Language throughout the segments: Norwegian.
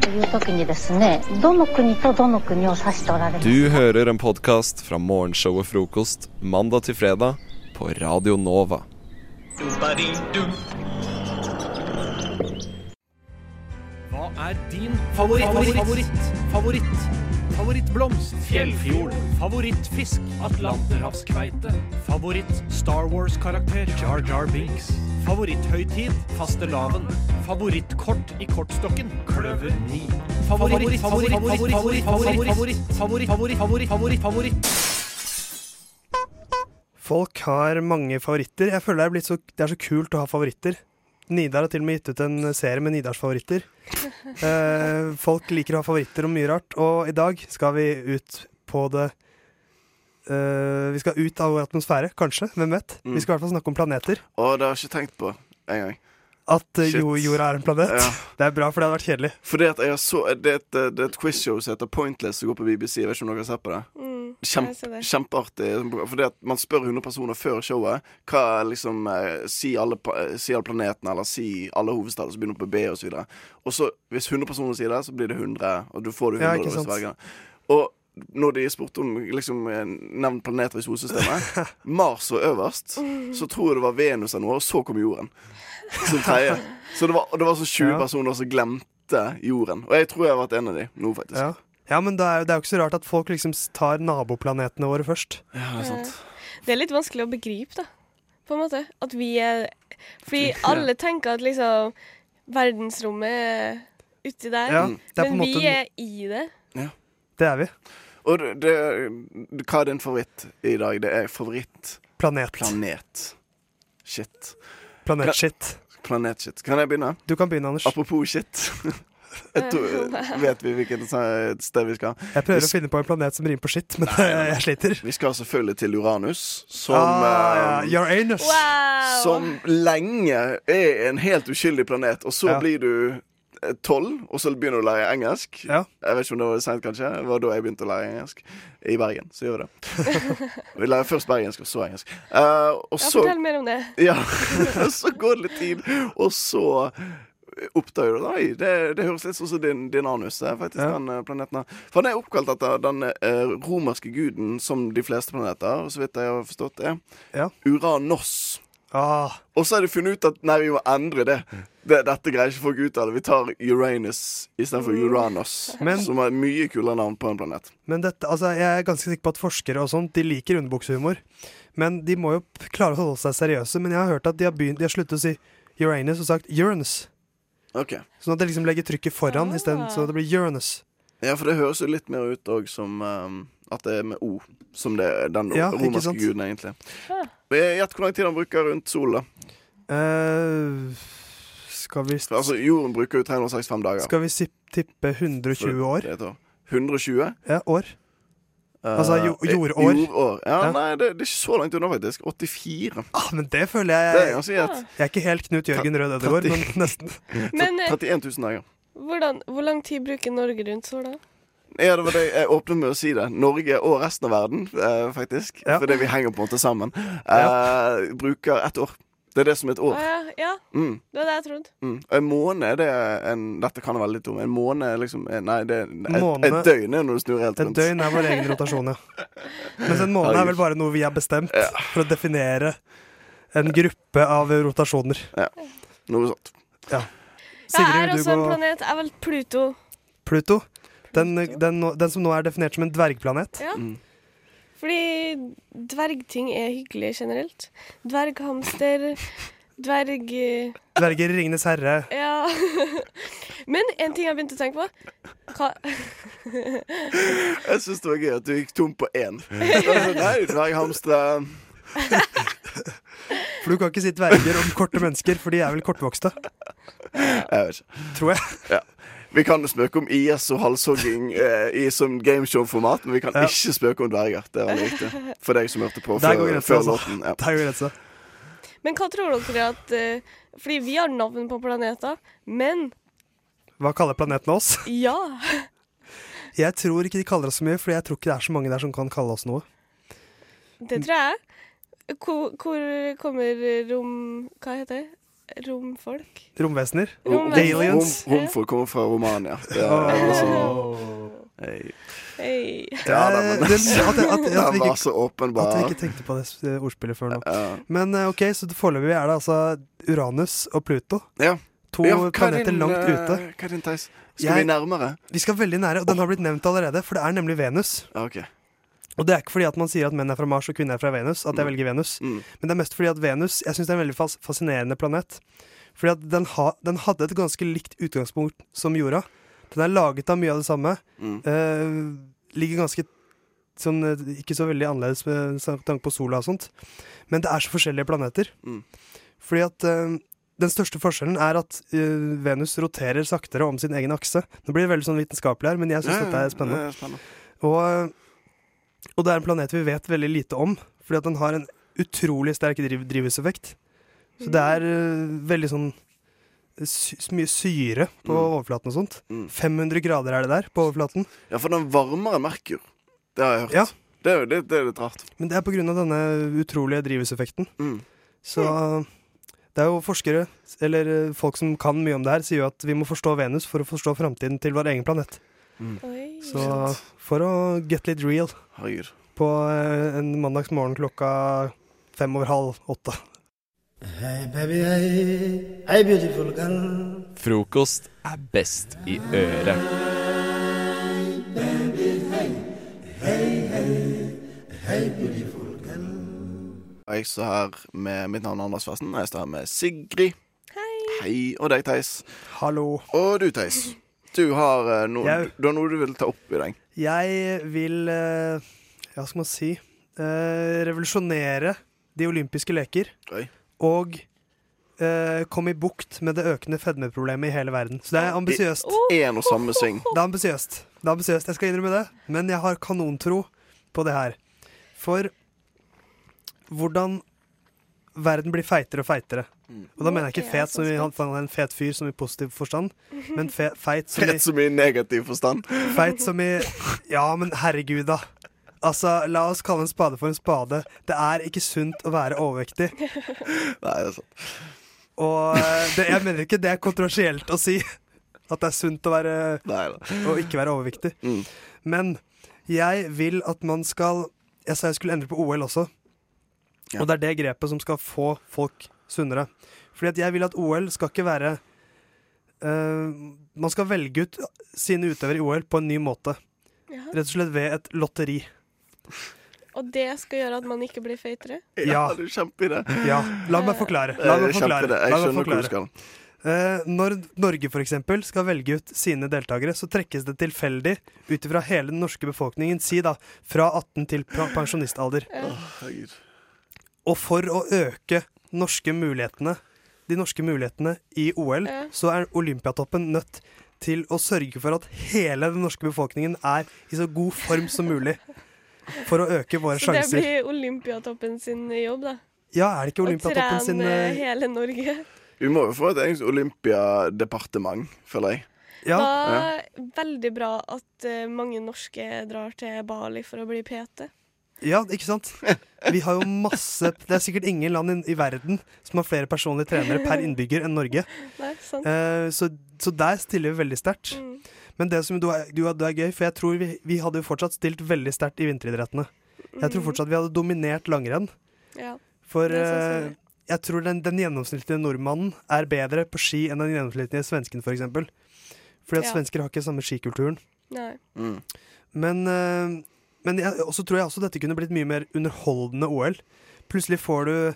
という時にですねどの国とどの国を指しておられます Du hører en podkast fra morgenshowet Frokost mandag til fredag på Radio Nova. Hva er din favoritt, favoritt, favoritt, favoritt, favorittblomst? Fjellfjord. Favorittfisk? Atlanterhavskveite. Favoritt Star Wars-karakter? Jar Jar Binks. Favoritthøytid? Fastelavn. Favorittkort i kortstokken? Kløver 9. Favoritt, favoritt, favoritt, favoritt, favoritt, favoritt, favoritt, favoritt, favoritt, favoritt, favoritt. Folk har mange favoritter. Jeg føler det er, blitt så, det er så kult å ha favoritter. Nidar har til og med gitt ut en serie med Nidars favoritter. Eh, folk liker å ha favoritter om mye rart, og i dag skal vi ut på det eh, Vi skal ut av vår atmosfære, kanskje. Hvem vet? Mm. Vi skal i hvert fall snakke om planeter. Og det har jeg ikke tenkt på engang. At eh, Shit. jo, jorda er en planet. Ja. Det er bra, for det hadde vært kjedelig. Fordi at jeg har så Det er et, eh, det er et quizshow som heter Pointless, som går på BBC. Jeg vet ikke om dere har sett på det? Mm, jeg så Kjemp, det. kjempeartig. Fordi at man spør 100 personer før showet hva er liksom eh, Si alle, pa- eh, si alle planetene, eller si alle hovedstader som begynner på B, og så videre. Og så, hvis 100 personer sier det, så blir det 100, og du får du Ja, 100 ikke hvis sant. hver gang. Og når de spurte om liksom, eh, nevn planeter i solsystemet, Mars var øverst, Mm. så tror jeg det var Venus eller noe, og så kom jorden. Som tredje. Så det var, og det var sånn 20 Ja. personer som glemte jorden. Og jeg tror jeg har vært en av de nå, faktisk. Ja, ja men det er, jo- det er jo ikke så rart at folk liksom s- tar naboplanetene våre først. Ja, det er sant. Eh, Det er litt vanskelig å begripe, da. På en måte. At vi er Fordi alle tenker at liksom verdensrommet er uti der. Ja, det er på en men vi måte er i det. Det er vi. Og det, det, hva er din favoritt i dag? Det er favorittplanet. Planet. Shit. Planetshit. Planetshit. Kan jeg begynne? Du kan begynne, Anders. Apropos shit. Jeg tror, vet vi hvilket sted vi skal? Jeg prøver Hvis- å finne på en planet som rimer på shit, men jeg sliter. Vi skal selvfølgelig til Uranus, som Ah, eh, ja. Your anus. Wow! Som lenge er en helt uskyldig planet, og så Ja. blir du eh, tolv, og så begynner du å lære engelsk. Ja. Jeg vet ikke om det var sent, kanskje. Det var da jeg begynte å lære engelsk. I Bergen. Så gjør vi det. Vi lærer først bergensk, og så engelsk. Eh, og ja, så fortell mer om det. Ja, så går det litt tid, og så oppdager du det. Oi, det, det høres litt sånn som din, din anus er, faktisk, Ja. den eh, planeten her. For han er oppkalt etter den eh, romerske guden som de fleste planeter, og så vidt jeg har forstått det, Ja. Uranos. Ah, Og så har de funnet ut at nei, vi må endre det. det dette greier ikke folk ut av det. Vi tar Uranus istedenfor Uranos, Men- som er mye kulere navn på en planet. men dette, altså, jeg er ganske sikker på at forskere og sånt, de liker underbuksehumor. Men de må jo p- klare å holde seg seriøse. Men jeg har hørt at de har, begynt, de har sluttet å si Uranus og sagt Uranus. Ok, Sånn at de liksom legger trykket foran Ah. isteden, så det blir Uranus. Ja, for det høres jo litt mer ut òg som ehm, at det er med O, som det er den Ja, ikke romerske sant? guden, egentlig. Ah. Eh, Gjett hvor lang tid han bruker rundt sola. eh skal vi, For, Altså, jorden bruker jo 365 dager. skal vi si, tippe For 120 år? det er et 120? Ja, år. Eh, Altså, jo- jordår. eh, jordår. Ja, Ja. Nei, det, det er ikke så langt unna, faktisk. 84. Ah, men det føler Det er jeg ganske gjett. Eh, Jeg er ikke helt Knut Jørgen Rød Ødegård, men nesten. Men eh, 31 000 dager. hvordan, hvor lang tid bruker Norge rundt sola? Ja, det var det jeg åpnet med å si det. Norge og resten av verden, eh, faktisk. Ja. Fordi vi henger på en måte sammen. Eh, Bruker ett år. Det er det som er et Å år. ja, ja, Mm, det var det jeg trodde. mm. En måned det er en, Dette kan jeg veldig dumt. En måned er liksom eh, Nei, det er et, Måned. et døgn er når du snur helt Et rundt. døgn er vår egen rotasjon, ja. Mens en måned er vel bare noe vi har bestemt for å definere en gruppe av rotasjoner. Noe sånt. Jeg er Sigrid, vil du også en gå planet. Jeg valgte Pluto. Pluto? Den, den, nå- den som nå er definert som en dvergplanet? Ja. Mm. Fordi dvergting er hyggelig generelt. Dverghamster, dverg... Dverger i Ringenes herre. Ja. Men en ting jeg begynte å tenke på Hva? Jeg syns det var gøy at du gikk tom på én. Altså, nei, dverghamstere For du kan ikke si dverger om korte mennesker, for de er vel kortvokste, Jeg vet ikke. tror jeg. Vi kan spøke om IS og halshogging eh, i som gameshow-format, men vi kan Ja. ikke spøke om dverger. Det er veldig viktig. For deg som hørte på Der går før, grensen, før altså. låten. Ja. Det er jo grensa. Men hva tror dere at eh, Fordi vi har navn på planeter, men Hva kaller planeten oss? ja. Jeg tror ikke de kaller oss så mye, for jeg tror ikke det er så mange der som kan kalle oss noe. Det tror jeg. Hvor, hvor kommer rom... Hva heter det? romfolk. Romvesener. Rom- Aliens. Rom, romfolk kommer fra Romania. Ja, altså, hey. Hei. ja da, men Eh, den- at, at, at, Den vi var ikke, så åpenbar. at vi ikke tenkte på det eh, ordspillet før nå. Ja. Men eh, ok, så foreløpig er det altså Uranus og Pluto. Ja. To Ja, hva er planeter din, langt eh, ute. Hva er din Theis? Skal Jeg- vi nærmere? Vi skal veldig nære, og den har blitt nevnt allerede, for det er nemlig Venus. Ja, OK. Og det er ikke fordi at man sier at menn er fra Mars og kvinner er fra Venus, at jeg velger Venus. Mm. Men det er mest fordi at Venus jeg synes det er en veldig fas fascinerende planet. Fordi at den, ha, den hadde et ganske likt utgangspunkt som jorda. Den er laget av mye av det samme. Mm. Eh, ligger ganske sånn, eh, ikke så veldig annerledes med sa- tanke på sola og sånt. Men det er så forskjellige planeter. Mm. Fordi at eh, den største forskjellen er at eh, Venus roterer saktere om sin egen akse. Nå blir det veldig sånn vitenskapelig her, men jeg syns Ja, ja, dette er spennende. det er spennende. Og, og det er en planet vi vet veldig lite om, fordi at den har en utrolig sterk driv drivhuseffekt. Så det er eh, veldig sånn sy mye syre på Mm. overflaten og sånt. Mm. 500 grader er det der på overflaten. Ja, for den varmer enn Merkur. Det har jeg hørt. Ja. Det, er jo- det, det er litt rart. Men det er på grunn av denne utrolige drivhuseffekten. Mm. Så det er jo forskere, eller eh, folk som kan mye om det her, sier jo at vi må forstå Venus for å forstå framtiden til vår egen planet. Mm. Oi. Så for å get litt real Herregud. på eh, en mandagsmorgen klokka fem over halv åtte. Hey baby, hey, hey beautiful girl. Frokost er best i øret. Og jeg står her med mitt navn er Anders Fersen, og jeg står her med Sigrid. Hei. Hei. Og deg, Theis. Hallo. Og du, Theis. Du har, eh, noe, Jeg- du har noe du vil ta opp i deg. Jeg vil eh, Ja, hva skal man si? Eh, revolusjonere de olympiske leker. Oi. Og eh, komme i bukt med det økende fedmeproblemet i hele verden. Så det er ambisiøst. Én og samme sving. Det er ambisiøst. Det er ambisiøst, Jeg skal innrømme det. Men jeg har kanontro på det her. For hvordan verden blir feitere og feitere. Og da mener jeg ikke Jeg er fet som i så spent. han er en fet fyr som i positiv forstand, men fe, feit som i Fett så mye negativ forstand. Feit som i Ja, men herregud, da. Altså, La oss kalle en spade for en spade. Det er ikke sunt å være overvektig. Nei, det er sant. Og eh, det, jeg mener ikke det er kontroversielt å si at det er sunt å, være, Nei, da. å ikke være overvektig. Mm. Men jeg vil at man skal Jeg sa jeg skulle endre på OL også. Ja. Og det er det grepet som skal få folk sunnere. Fordi at jeg vil at OL skal ikke være eh, Man skal velge ut sine utøvere i OL på en ny måte. Ja. Rett og slett ved et lotteri. Og det skal gjøre at man ikke blir feitere? Ja, Ja. du er kjempeidé. Ja, la meg forklare. La meg forklare. Kjempeidé. Jeg La meg skjønner hvor du forklare. skal. Eh, når Norge for eksempel skal velge ut sine deltakere, så trekkes det tilfeldig ut ifra hele den norske befolkningen, si da fra 18 til pra- pensjonistalder. Herregud. Og for å øke norske mulighetene, de norske mulighetene i OL, Ja. så er Olympiatoppen nødt til å sørge for at hele den norske befolkningen er i så god form som mulig. For å øke våre Så det sjanser. blir Olympiatoppen sin jobb, da. Ja, er det ikke Å Olympiatoppen sin trene eh, hele Norge. Vi må jo få et eget olympiadepartement, føler jeg. Ja, var veldig bra at eh, mange norske drar til Bali for å bli PT. Ja, ikke sant? Vi har jo masse Det er sikkert ingen land i, i verden som har flere personlige trenere per innbygger enn Norge. Nei, sant? Eh, så, så der stiller vi veldig sterkt. Mm. Men det som du er, du er, du er gøy, for jeg tror vi, vi hadde jo fortsatt stilt veldig sterkt i vinteridrettene. Jeg tror fortsatt vi hadde dominert langrenn. Ja. For Mm. Det er sånn som eh, jeg tror den, den gjennomsnittlige nordmannen er bedre på ski enn den gjennomsnittlige svensken, f.eks. eksempel Fordi at Ja. svensker har ikke samme skikulturen. Nei. Mm. Men, eh, men jeg, også tror jeg også dette kunne blitt mye mer underholdende OL. Plutselig får du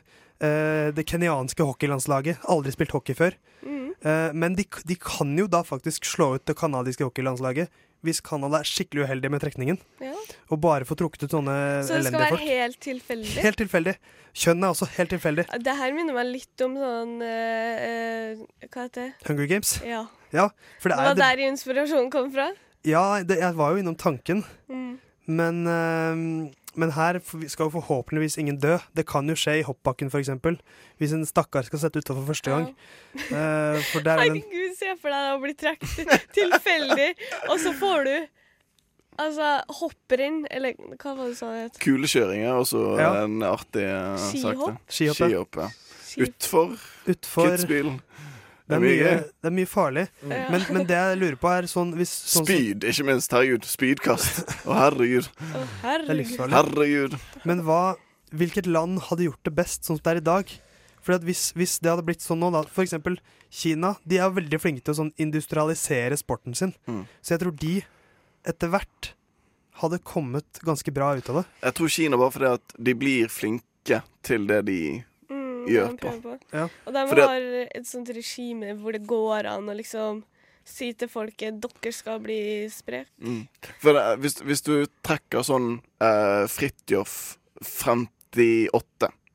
eh, det kenyanske hockeylandslaget. Aldri spilt hockey før. Mm. Eh, men de, de kan jo da faktisk slå ut det canadiske hockeylandslaget hvis Canada er skikkelig uheldig med trekningen Ja. og bare får trukket ut sånne Så eh, det skal elendige være folk. helt tilfeldig? Helt tilfeldig. Kjønn er også helt tilfeldig. Det her minner meg litt om sånn eh, eh, Hva heter det? Hunger Games. Ja. Ja, for Det det var er det, der inspirasjonen kom fra. ja det, jeg var jo innom tanken, Mm. men, eh, men her f- skal jo forhåpentligvis ingen dø. Det kan jo skje i hoppbakken, for eksempel Hvis en stakkar skal sette utafor første gang. Eh, for der er den Herregud, se for deg å bli trukket tilfeldig, og så får du altså hopprenn, eller hva var det du sa det het? Kulekjøring er også Ja. en artig eh, sak. Skihopp? det. skihoppet. Skihopp, ja. Skip. Utfor Utfor det, Kitzbühel. er mye- det er mye farlig. Ja. Men, men det jeg lurer på, er sånn hvis sånn, som- Speed, ikke minst. Herregud. Speedkast. Å, herregud. Å, Det er herregud. livsfarlig. Herregud. Men hva, hvilket land hadde gjort det best sånn som det er i dag? Fordi at hvis, hvis det hadde blitt sånn nå, da, for eksempel Kina, de er veldig flinke til å sånn industrialisere sporten sin. Mm. Så jeg tror de etter hvert hadde kommet ganske bra ut av det. Jeg tror Kina bare fordi at de blir flinke til det de Mm, gjør de prøver Ja. Og de Fordi at- har et sånt regime hvor det går an å liksom si til folket dere skal bli spre. mm. For det, hvis, hvis du trekker sånn eh, Fridtjof 58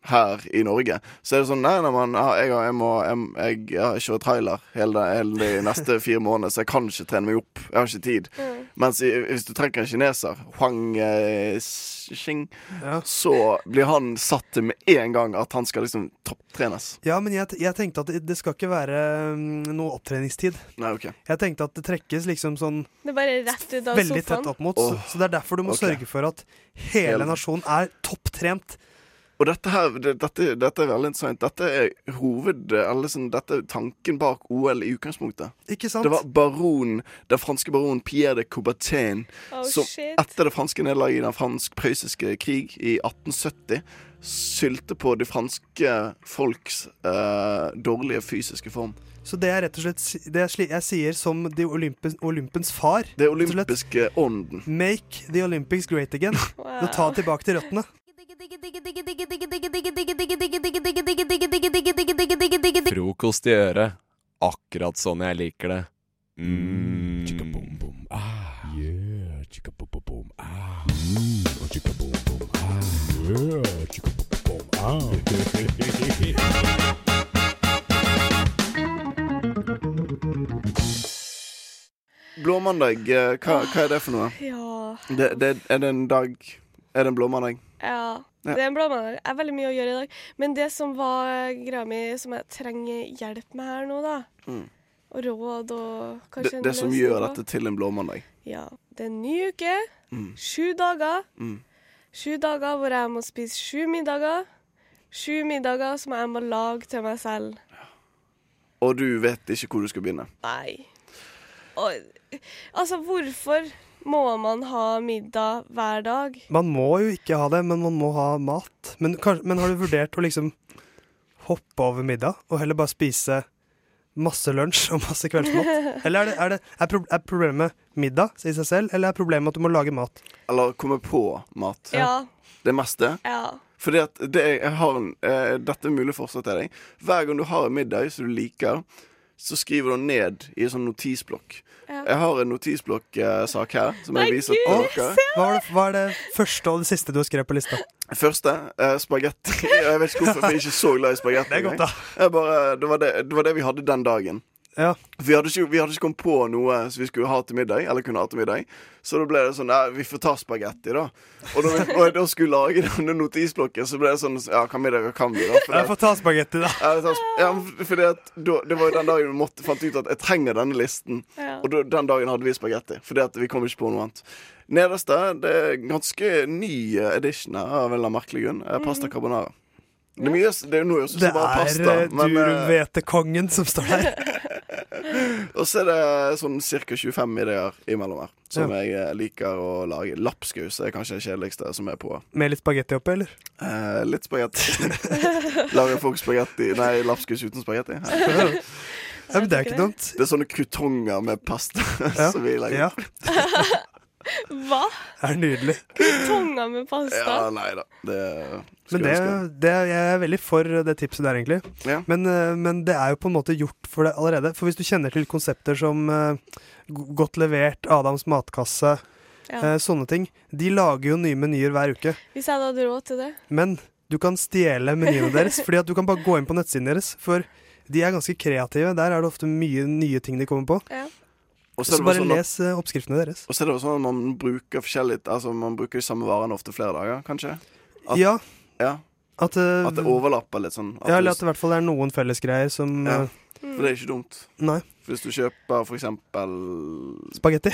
her i Norge, så er det sånn Nei, nei, man, jeg, har- jeg må Jeg, jeg, jeg har kjørt trailer hele, hele de neste fire månedene, så jeg kan ikke trene meg opp. Jeg har ikke tid. Mm. Mens i, hvis du trekker en kineser, Huang eh, Xing, Ja. så blir han satt til med en gang at han skal liksom topptrenes. Ja, men jeg, jeg tenkte at det, det skal ikke være mm, noe opptreningstid. Nei, OK. Jeg tenkte at det trekkes liksom sånn Det er bare rett ut av veldig tett sofaen. opp mot. Så, Åh, så det er derfor du må ok. sørge for at hele Hele. nasjonen er topptrent. Og dette her, det, dette, dette er veldig interessant. Dette er hoved, eller sånn, dette er tanken bak OL i utgangspunktet. Ikke sant? Det var baron, den franske baron Pierre de Coubertin Oh, som shit. etter det franske nederlaget i den fransk-prøyssiske krig i 1870 sylte på det franske folks eh, dårlige fysiske form. Så det er rett og slett si- det er sli- jeg sier som de Olympens, Olympens far. rett Det og slett. olympiske ånden. Make the Olympics great again. Wow. Og ta tilbake til røttene. Frokost i øret. Akkurat sånn jeg liker det. Mm. Blåmandag, eh, hva, hva er det for noe? Ja. Det, det, er det en dag Er det en blåmandag? ja. Ja. Det er en blåmandag. Det er veldig mye å gjøre i dag. Men det som var greia mi, som jeg trenger hjelp med her nå, da, Mm. og råd og Det, kanskje en det som løsning gjør på- dette til en blåmandag? Ja. Det er en ny uke. Mm. Sju dager. Mm. Sju dager hvor jeg må spise sju middager. Sju middager som jeg må lage til meg selv. Og du vet ikke hvor du skal begynne? Nei. Og, altså, hvorfor må man ha middag hver dag? Man må jo ikke ha det, men man må ha mat. Men, kanskje, men har du vurdert å liksom hoppe over middag og heller bare spise masse lunsj og masse kveldsmat? Eller er, det, er, det, er, pro, er problemet middag i seg selv, eller er problemet at du må lage mat? Eller komme på mat? Ja. Det meste? ja. Fordi at det, jeg har en, eh, dette er mulig fortsatt til deg. Hver gang du har en middag som du liker, så skriver du ned i en sånn notisblokk. Ja. Jeg har en notisblokksak her som Nei, jeg viser Gud, til dere. Hva er, det, hva er det første og det siste du har skrevet på lista? Første eh, spagetti. Jeg vet ikke hvorfor for jeg er ikke så glad i spagetti. Det er godt, da. Jeg bare, det, var det, det var det vi hadde den dagen. Ja. Vi hadde, ikke, vi hadde ikke kommet på noe som vi skulle ha til middag. Eller kunne ha til middag Så da ble det sånn Nei, vi får ta spagetti, da. Og da vi- og jeg da skulle lage denne notisblokken, så ble det sånn Ja, hva middag kan vi, da? For Jeg det, får ta spagetti, da. ja, det tar- ja, men fordi at da, det var jo den dagen vi måtte, fant ut at jeg trenger denne listen. Ja. Og da, den dagen hadde vi spagetti. Fordi at vi kom ikke på noe annet. Nederste det er ganske ny eh, edition her, av en eller annen merkelig grunn. eh, Pasta carbonara. Det er mye Det er jo noe som Det bare er pasta. eh, men, eh, durum-hvete-kongen som står der. Og så er det sånn ca. 25 ideer imellom her, som jeg eh, liker å lage. Lapskaus er kanskje det kjedeligste som er på. Med litt spagetti oppi, eller? Eh, litt spagetti. Lager folk spagetti Nei, lapskaus uten spagetti? Eh, Ja, men det er ikke dumt. Det er sånne krutonger med pasta Ja. som vi lager. Ja, Ja, Hva? det er nydelig. Tonga med pasta? nei da. Det Men skulle det, jeg ønske. det, jeg er veldig for det tipset der, egentlig. Ja. Men, eh, men det er jo på en måte gjort for det allerede. For hvis du kjenner til konsepter som eh, go- Godt levert, Adams matkasse, Ja. eh, sånne ting, de lager jo nye menyer hver uke. Hvis jeg hadde hatt råd til det. Men du kan stjele menyene deres, fordi at du kan bare gå inn på nettsiden deres. For de er ganske kreative. Der er det ofte mye nye ting de kommer på. Ja. Og så Så er det bare bare sånn at, les eh, oppskriftene deres. og så er det jo sånn at man bruker forskjellig Altså man bruker de samme varene ofte flere dager, kanskje? At- Ja, Ja. at, eh, At det overlapper litt sånn. At ja, du- eller at det i hvert fall er noen fellesgreier som Ja. eh, for det er ikke dumt. Nei, Hvis du kjøper for eksempel spagetti.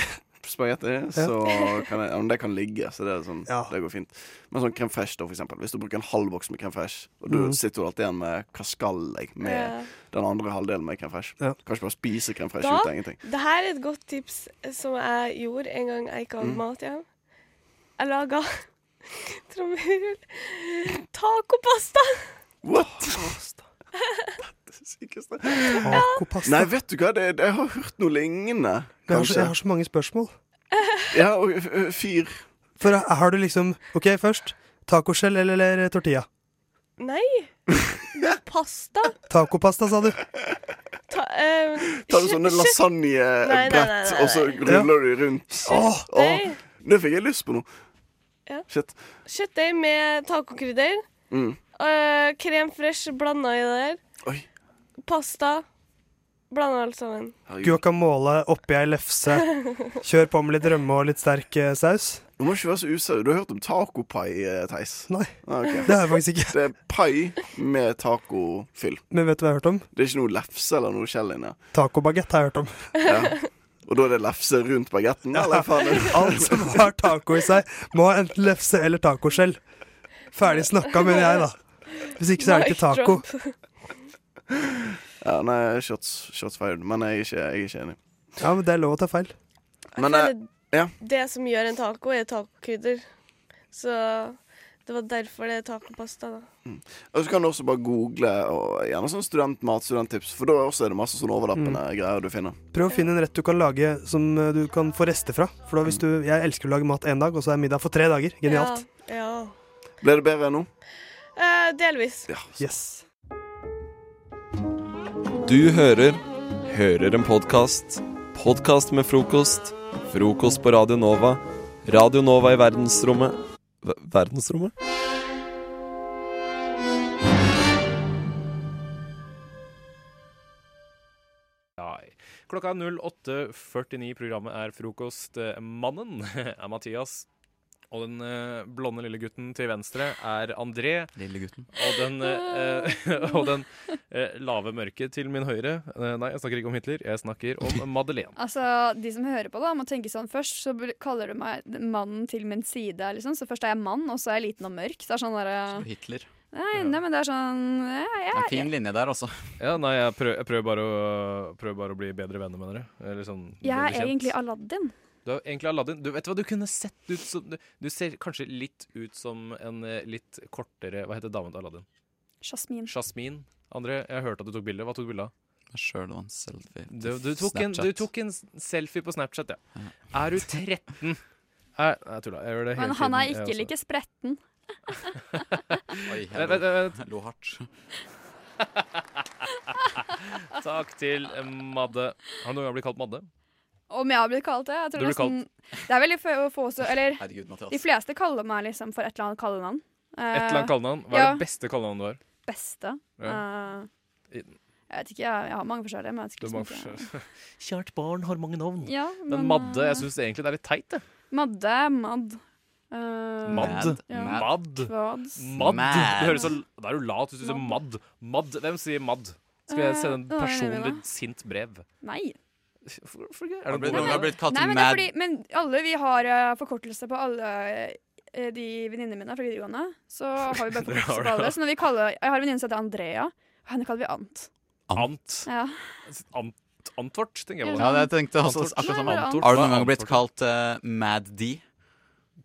spagetti, så kan jeg, ja, men det kan ligge. Så det, er sånn, Ja. det går fint. Men sånn crème fraiche, da, for eksempel. Hvis du bruker en halv boks med crème fraiche, og du Mm. sitter jo alltid igjen med hva skal jeg med Ja. den andre halvdelen med crème fraiche. Ja. Kanskje bare spise crème fraiche Da- uten ingenting. Det her er et godt tips som jeg gjorde en gang jeg Mm. ikke hadde mat igjen. Jeg laga trommehull tacopasta. What?! Det er det sykeste. Nei, Tacopasta. vet du hva, det, det, jeg har hørt noe lignende. Jeg har, så, Kanskje. jeg har så mange spørsmål. Ja, og ø, ø, fyr For eh, har du liksom OK, først. Tacoskjell eller, eller eh, tortilla? Nei, det er pasta. Tacopasta, sa du. Ta, eh, Tar du sånne kjøtt- Nei, nei, nei, lasagnebrett, nei, nei. og så ruller du rundt? Åh, åh, kjøttdeig- Nå fikk jeg lyst på noe. Ja. Shit. Kjøttdeig med tacokrydder. Mm. Uh, krem fresh blanda i det der. Oi. Pasta. Blanda alt sammen. Herregud. Guacamole oppi ei lefse. Kjør på med litt rømme og litt sterk eh, saus. Du må ikke være så usau. Du har hørt om tacopai, eh, Theis? Nei, Ah, ok. det har jeg faktisk ikke. Det er pai med tacofyll. Men vet du hva jeg har hørt om? Det er ikke noe lefse eller noe skjell inni. Tacobagett har jeg hørt om. Ja. Og da er det lefse rundt bagetten? Eller faen er det- Alt som har taco i seg, må ha enten lefse eller tacoskjell. Ferdig snakka, mener jeg, da. Hvis ikke så er det ikke Mic taco. Ja, nei, shots, shots fired. Men jeg er ikke, jeg er ikke enig. Ja, men Det er lov å ta feil. Men Jeg eh, føler ja. det som gjør en taco, er tacokrydder. Så det var derfor det er tacopasta, da. Mm. Og så kan du også bare google og gjerne sånn studentmat, studenttips, for da også er det masse sånn overlappende Mm. greier du finner. Prøv å finne en rett du kan lage som eh, du kan få rester fra. For da hvis du, Jeg elsker å lage mat én dag, og så er middag for tre dager. Genialt. Ja. ja. Ble det bedre nå? Eh, delvis. Ja. Yes. Du hører Hører en podkast. Podkast med frokost. Frokost på Radio Nova. Radio Nova i verdensrommet Ver- Verdensrommet? Nei. Klokka er 08.49. Programmet er Frokost. Eh, Mannen er Mathias. Og den eh, blonde lille gutten til venstre er André. Lille gutten. Og den, eh, eh, og den eh, lave mørke til min høyre eh, Nei, jeg snakker ikke om Hitler, jeg snakker om Madeleine. Altså, De som hører på, da, må tenke sånn først. Så bl- kaller du meg mannen til min side. liksom Så først er jeg mann, og så er jeg liten og mørk. Så det er sånn der, Og eh, Hitler. nei, nei, men det er sånn ja, Det ja, er en fin linje der altså. også. Ja, nei, jeg prøver, jeg prøver, bare, å, prøver bare å bli bedre venner med dere. Eller sånn, Jeg bedre er kjent. egentlig Aladdin. Du er egentlig Aladdin. Du vet du hva, du kunne sett ut som Du, du ser kanskje litt ut som en eh, litt kortere Hva heter damen til Aladdin? Jasmin. Jasmin. André, jeg hørte at du tok bilde. Hva tok du bilde av? Sjøl det var en selfie. til Du, du, tok en, Snapchat. du tok en selfie på Snapchat, ja. Er du 13? Nei, jeg tulla. Jeg gjør det hele Men han er tiden, ikke jeg også. like spretten. Oi, jeg Vent, vent, lo- vent. jeg lo hardt. Takk til eh, Madde. Har du noen gang blitt kalt Madde? Om jeg har blitt kalt det? Jeg tror Du blir nesten, det er veldig få få også Eller Herregud, de Mathias. fleste kaller meg liksom for et eller annet kallenavn. Et eller annet kallenavn? Hva er Eh, ja. det beste kallenavnet du har? Beste. Eh, I- jeg vet ikke, jeg, jeg har mange forskjellige, men jeg vet ikke Det så er mange mye. forskjellige. Kjært barn har mange navn. Ja, eh, Men Madde, jeg syns egentlig det er litt teit, det. Madde, Madd. eh, Madd. Ja. Mad. Madd. Kvads. Madd. Mad. Det høres så Da er du lat hvis du sier Madd. Madd. Hvem sier Madd? Skal jeg sende en Eh, hva er det med personlig det? sint brev? Nei. Hvorfor hvorfor ikke? Er Har du det blitt, noe har du blitt kalt Nei, men, det er mad? fordi, men alle vi har eh, forkortelse på alle eh, de venninnene mine fra videregående. Så har vi bare Dere har forkortelse på det, alle. ja. Så når vi kaller, jeg har en venninne som heter Andrea. og Henne kaller vi Ant. Ant. Ja. Ant Antvort, tenker jeg på. Ja, det tenkte jeg også. Akkurat som Nei, Anton. sånn? Antort. Har du noen gang blitt kalt eh, Mad D?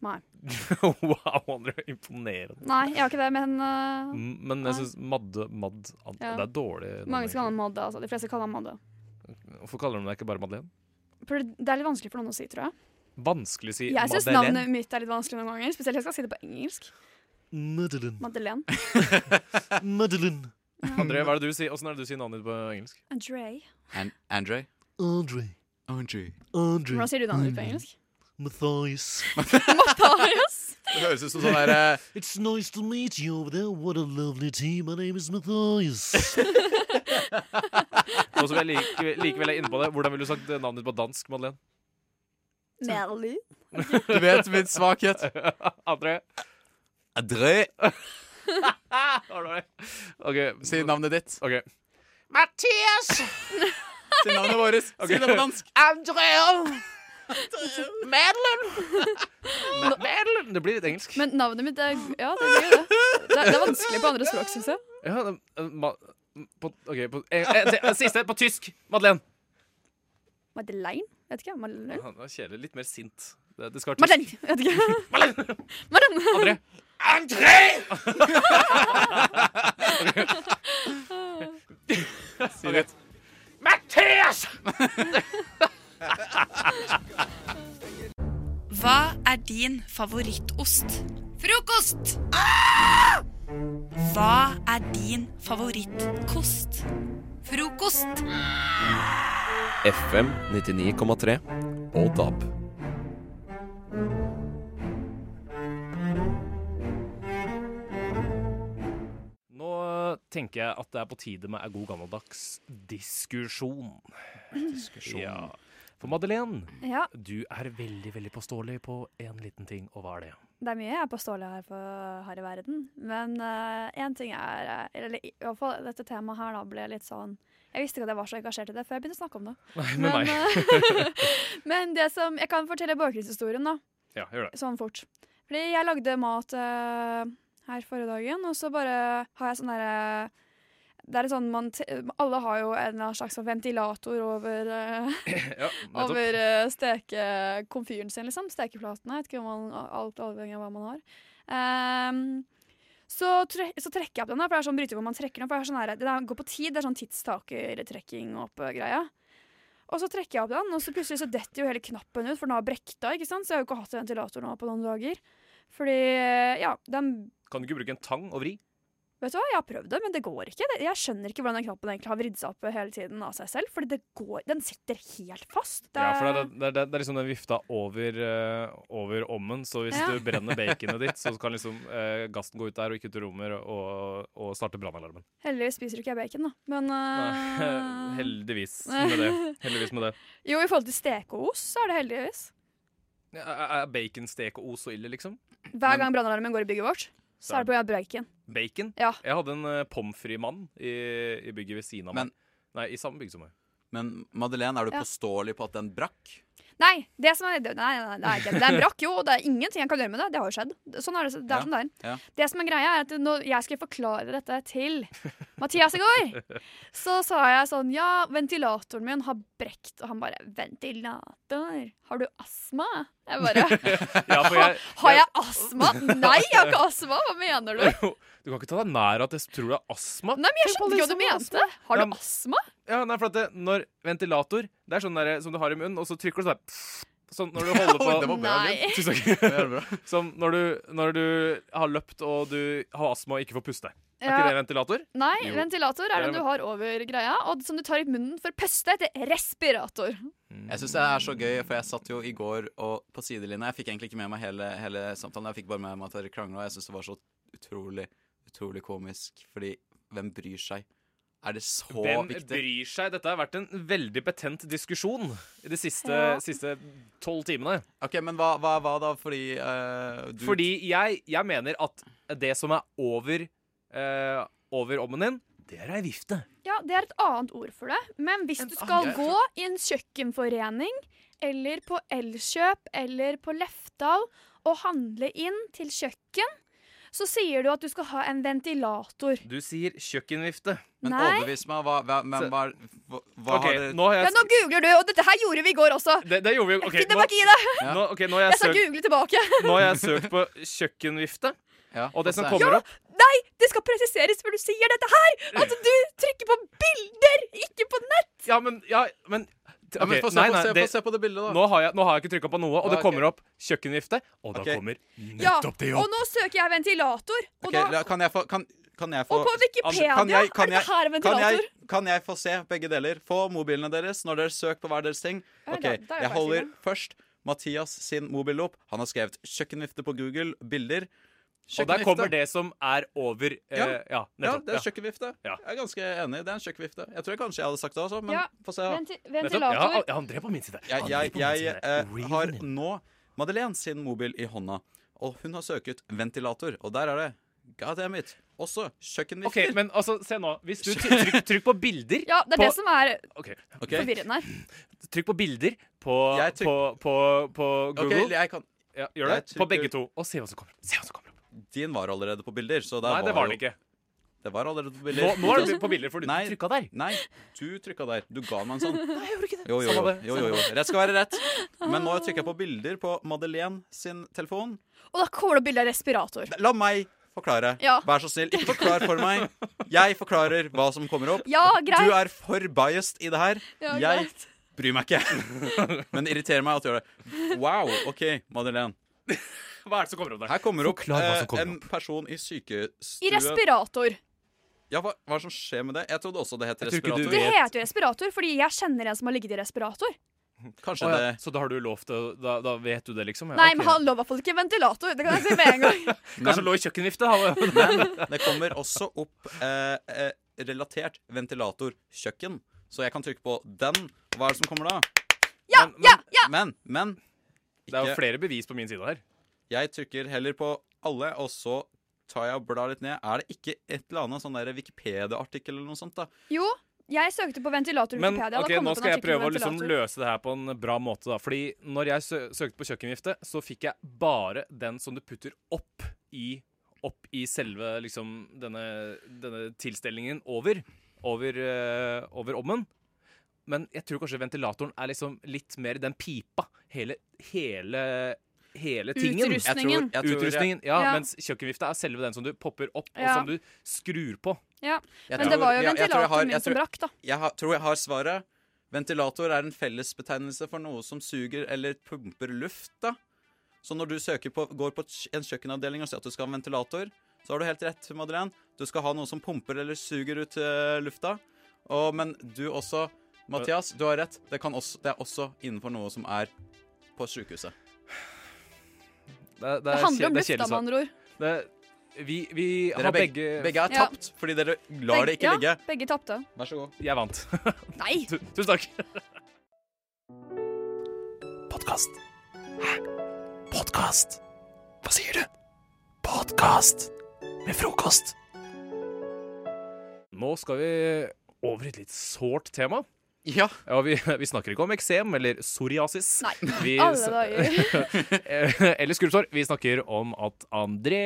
wow, André. Imponerende. Nei, jeg har ikke det, men eh, M- Men jeg syns Madde Madd Ant, Ja. Det er dårlig. navn, mange skal kalle egentlig. henne Madde. Altså. De fleste kaller henne Madde. Hvorfor kaller de deg ikke bare Madeleine? For det- det er litt vanskelig for noen å si, tror jeg. Vanskelig å si Jeg syns Madeleine. navnet mitt er litt vanskelig noen ganger. Spesielt jeg skal si det på engelsk. Madeleine. Madeleine. Madeleine. André, hva er det du sier? Åssen er det du sier navnet ditt på engelsk? Andre. An Andre? Andre. Andre. Hvordan sier du navnet ditt på engelsk? Matthias. Marius. Det høres ut som sånn derre It's nice to meet you over there. What a lovely team. My name is Matthias. Og så vil jeg like, likevel er inne på det. Hvordan ville du sagt eh, navnet ditt på dansk, Madeleine? Natalie. Du vet min svakhet. André? Andre. Har du det? OK. Si navnet ditt. Ok. Mathias! si navnet vårt. Si det på dansk. Andrea! Madeline! Madeline! Det blir litt engelsk. Men navnet mitt er Ja, det blir jo det. Det, det er vanskelig på andre språk, syns jeg. Ja, det, eh, ma, på, OK, på, eh, eh, te- siste. På tysk. Madeleine. Madeleine? Vet ikke. Madeleine? Ja, det var kjedelig. Litt mer sint. Det, det skal være Madeleine! tysk. Vet ikke. Madeleine! Madeleine. André. André! Si det. Mathias! Hva er din favorittost? Frokost! Hva er din favorittkost? Frokost! FM 99,3 og DAB. Nå tenker jeg at det er på tide med en god gammeldags diskusjon. Diskusjon. Ja. For Madeleine, Ja. du er veldig veldig påståelig på en liten ting, og hva er det? Det er mye jeg er påståelig her, på, her i verden, men én ting er eh, Eller i hvert fall dette temaet her da ble litt sånn Jeg visste ikke at jeg var så engasjert i det før jeg begynte å snakke om det. Nei, med men, eh, men det som Jeg kan fortelle bakgrunnshistorien, da. Ja, gjør det. Sånn fort. Fordi jeg lagde mat eh, her forrige dagen, og så bare har jeg sånn derre det er sånn man te Alle har jo en eller annen slags sånn ventilator over, eh, Ja, nettopp. over eh, stekekomfyren sin, liksom. Stekeplatene. Jeg vet ikke om man, alt avhengig av hva man har. Ehm, så, tre så trekker jeg opp den, da, for det er sånn bryter hvor man trekker den opp. for Det, er sånn her, det der går på tid, det er sånn tidstakertrekking opp eh, greia. Og så trekker jeg opp den, og så plutselig så detter jo hele knappen ut, for den har brekta, ikke sant? Så jeg har jo ikke hatt ventilator nå på noen dager. Fordi, eh, ja, den Kan du ikke bruke en tang og vri? Vet du hva, Jeg har prøvd det, men det går ikke. Det- Jeg skjønner ikke hvordan den knappen egentlig har vridd seg opp hele tiden av seg selv. Fordi det går, den sitter helt fast. Det Ja, for det er- er, det, er, det er liksom den vifta over, eh, over ommen, så hvis Ja. du brenner baconet ditt, så kan liksom eh, gassen gå ut der og ikke ut i rommet og, og starte brannalarmen. Heldigvis spiser ikke jeg bacon, da. Men øh, Heldigvis med det. Heldigvis med det. Jo, i forhold til stekeost, så er det heldigvis. Ja, Er er bacon, stek og os så ille, liksom? Hver gang brannalarmen går i bygget vårt, så er det pga. bacon. Bacon? Ja. Jeg hadde en uh, pommes frites-mann i, i bygget ved siden av meg. Nei, i samme bygg som meg. Men Madeleine, er du Ja. påståelig på at den brakk? Nei, det som er det- Nei, nei, nei, det er ikke det. Den brakk jo, og det er ingenting jeg kan gjøre med det. Det har jo skjedd. Sånn er det, det er som det er. Ja. Det som er greia, er at når jeg skulle forklare dette til Mathias i går, så sa jeg sånn Ja, ventilatoren min har brekt. Og han bare Ventilator? Har du astma? Jeg bare Ja, for jeg- Har jeg astma? Nei, jeg har ikke astma! Hva mener du? Du kan ikke ta deg nær at jeg tror du har astma. Nei, men jeg skjønte ikke hva du mente. Har Ja, men- du astma? Ja, nei, for at det, når ventilator Det er sånn der, som du har i munnen, og så trykker du sånn der, Sånn når du holder på Oi, det var bra, Nei. Linn. Tusen takk. Som når du, når du har løpt og du har astma og ikke får puste. Er Ja. ikke det ventilator? Nei, Jo. ventilator Det er er den du har over greia, og som du tar i munnen for å puste, heter respirator. Jeg syns det er så gøy, for jeg satt jo i går og på sidelinja. Jeg fikk egentlig ikke med meg hele, hele samtalen, jeg fikk bare med meg at dere krangla, og jeg syns det var så utrolig, utrolig komisk, fordi hvem bryr seg? Er det så Hvem viktig? bryr seg? Dette har vært en veldig betent diskusjon i de siste, Ja. siste tolv timene. Ok, Men hva, hva, hva da? Fordi eh, du Fordi jeg, jeg mener at det som er over, eh, over ommen din, det er ei vifte. Ja, det er et annet ord for det. Men hvis du skal annen- gå i en kjøkkenforening, eller på Elkjøp, eller på Lefdal, og handle inn til kjøkken, så sier du at du skal ha en ventilator. Du sier kjøkkenvifte. Men Nei. Overbevis meg. Hva, hva, men, hva, hva, hva Ok, har dere nå har jeg Ja, nå googler du, og dette her gjorde vi i går også. Det, det gjorde vi jo. ok, Finner nå- meg ikke i det. Nå, ok, nå har Jeg jeg, skal søkt, google tilbake. nå har jeg søkt på kjøkkenvifte, og det som Ja, kommer opp Nei, det skal presiseres før du sier dette her! At du trykker på bilder, ikke på nett! Ja, men, ja, men Ja, men ok, få se, nei, få nei, se- få det- se på det bildet, da. Nå har jeg, nå har jeg ikke trykka på noe, og Ja, det ok. kommer opp kjøkkenvifte, og da Ok. kommer Ja, nettopp det og opp. nå søker jeg ventilator, og Ok, da la- kan jeg få kan, kan jeg få Og på Wikipedia Kan jeg- kan er dette jeg- her en kan jeg- ventilator? Kan jeg få se begge deler? Få mobilene deres når dere søker på hver deres ting. Ja, Ok, da- da er jeg Jeg faktisk i holder gang. først Mathias sin mobil opp. Han har skrevet 'kjøkkenvifte' på Google. Bilder. Og der kommer det som er over eh, Ja. ja, Ja, nettopp. det er ja. kjøkkenvifte. Jeg er ganske enig. Det er en kjøkkenvifte. Jeg tror kanskje jeg hadde sagt det også, men Ja, få se. da. venti- ventilator. Ja, ja, André på min side. Jeg, André jeg, på min jeg, side. eh, har nå Madeleine sin mobil i hånda, og hun har søket ventilator, og der er det. God damn it. Også OK, kjøkkenvifter. men altså, se nå. Hvis du try- trykk, trykk på bilder Ja, det er på, det som er Ok. forvirrende her. Trykk på bilder på, på, på, på Google. Ok, jeg kan ja, gjør det. På begge to. Og se hva som kommer. Se hva som kommer. Din var allerede på bilder. Så der Nei, det var den jo- ikke. Det var allerede på bilder. Nå- nå er det på bilder, for du Nei, trykket der. Nei, du trykka der. Du ga meg en sånn. Nei, jeg gjorde ikke det. Jo, jo, jo. Samme det, jo, jo, jo. samme det. Rett skal være rett. Men nå trykker jeg på bilder på Madeleine sin telefon. Og da kommer det bilde av respirator. La meg forklare. Ja. Vær så snill, ikke forklar for meg. Jeg forklarer hva som kommer opp. Ja, greit. Du er for biased i det her. Ja, jeg greit. bryr meg ikke. Men det irriterer meg at du gjør det. Wow. OK, Madeleine. Hva er det som kommer opp der? Her kommer opp Forklar hva som eh, kommer en person i I sykestuen. respirator. Ja, hva, hva er det som skjer med det? Jeg trodde også det het Jeg tror ikke respirator. du Det heter jo respirator fordi jeg kjenner en som har ligget i respirator. Kanskje Å, ja. det Så da har du lovt det, og da, da vet du det, liksom? Ja, Nei, ok. men han lå i hvert fall ikke ventilator. Det kan jeg si med en gang. Kanskje lå i kjøkkenvifta? da. Men det kommer også opp eh, eh, relatert ventilatorkjøkken. Så jeg kan trykke på den. Hva er det som kommer da? Ja, ja, ja! Men, men Det er jo flere bevis på min side her. Jeg trykker heller på alle, og så tar jeg og blar litt ned. Er det ikke et eller annet sånn der Wikipedia-artikkel eller noe sånt? da? Jo, jeg søkte på ventilator i Men Wikipedia. ok, da kom nå det opp en skal artikkel jeg om prøve å liksom ventilator. løse det her på en bra måte. da Fordi når jeg sø søkte på kjøkkengifte, så fikk jeg bare den som du putter opp i Opp i selve liksom denne, denne tilstelningen over. Over, eh, over ommen. Men jeg tror kanskje ventilatoren er liksom litt mer den pipa. Hele, hele Hele tingen. Utrustningen. Jeg tror- jeg tror- Utrustningen, ja, Ja. Mens kjøkkenvifta er selve den som du popper opp, Ja. og som du skrur på. Ja, Jeg Men tror- det var jo jeg- jeg tror jeg ventilatoren har- jeg min som tror- brakk, da. Jeg har, tror jeg har svaret. Ventilator er en fellesbetegnelse for noe som suger eller pumper luft. da. Så når du søker på, går på et kj- en kjøkkenavdeling og sier at du skal ha en ventilator, så har du helt rett, Madeleine. Du skal ha noe som pumper eller suger ut eh, lufta. Og, men du også, Mathias, du har rett. Det, kan også, det er også innenfor noe som er på sykehuset. Det, er- det Det er kje- handler om det lufta, er kjedelig med svar. andre ord. Det- Vi, vi Dere har er begge, begge begge er Ja. tapt fordi dere lar det ikke ja, ligge. Begge tapte. Vær så god. Jeg vant. Nei! Tu- Tusen takk. Podkast. Hæ? Podkast? Hva sier du? Podkast med frokost. Nå skal vi over i et litt sårt tema. Ja. Ja, vi, vi snakker ikke om eksem eller psoriasis. Nei. Vi, Alle dager. eller skrubbsår. Vi snakker om at André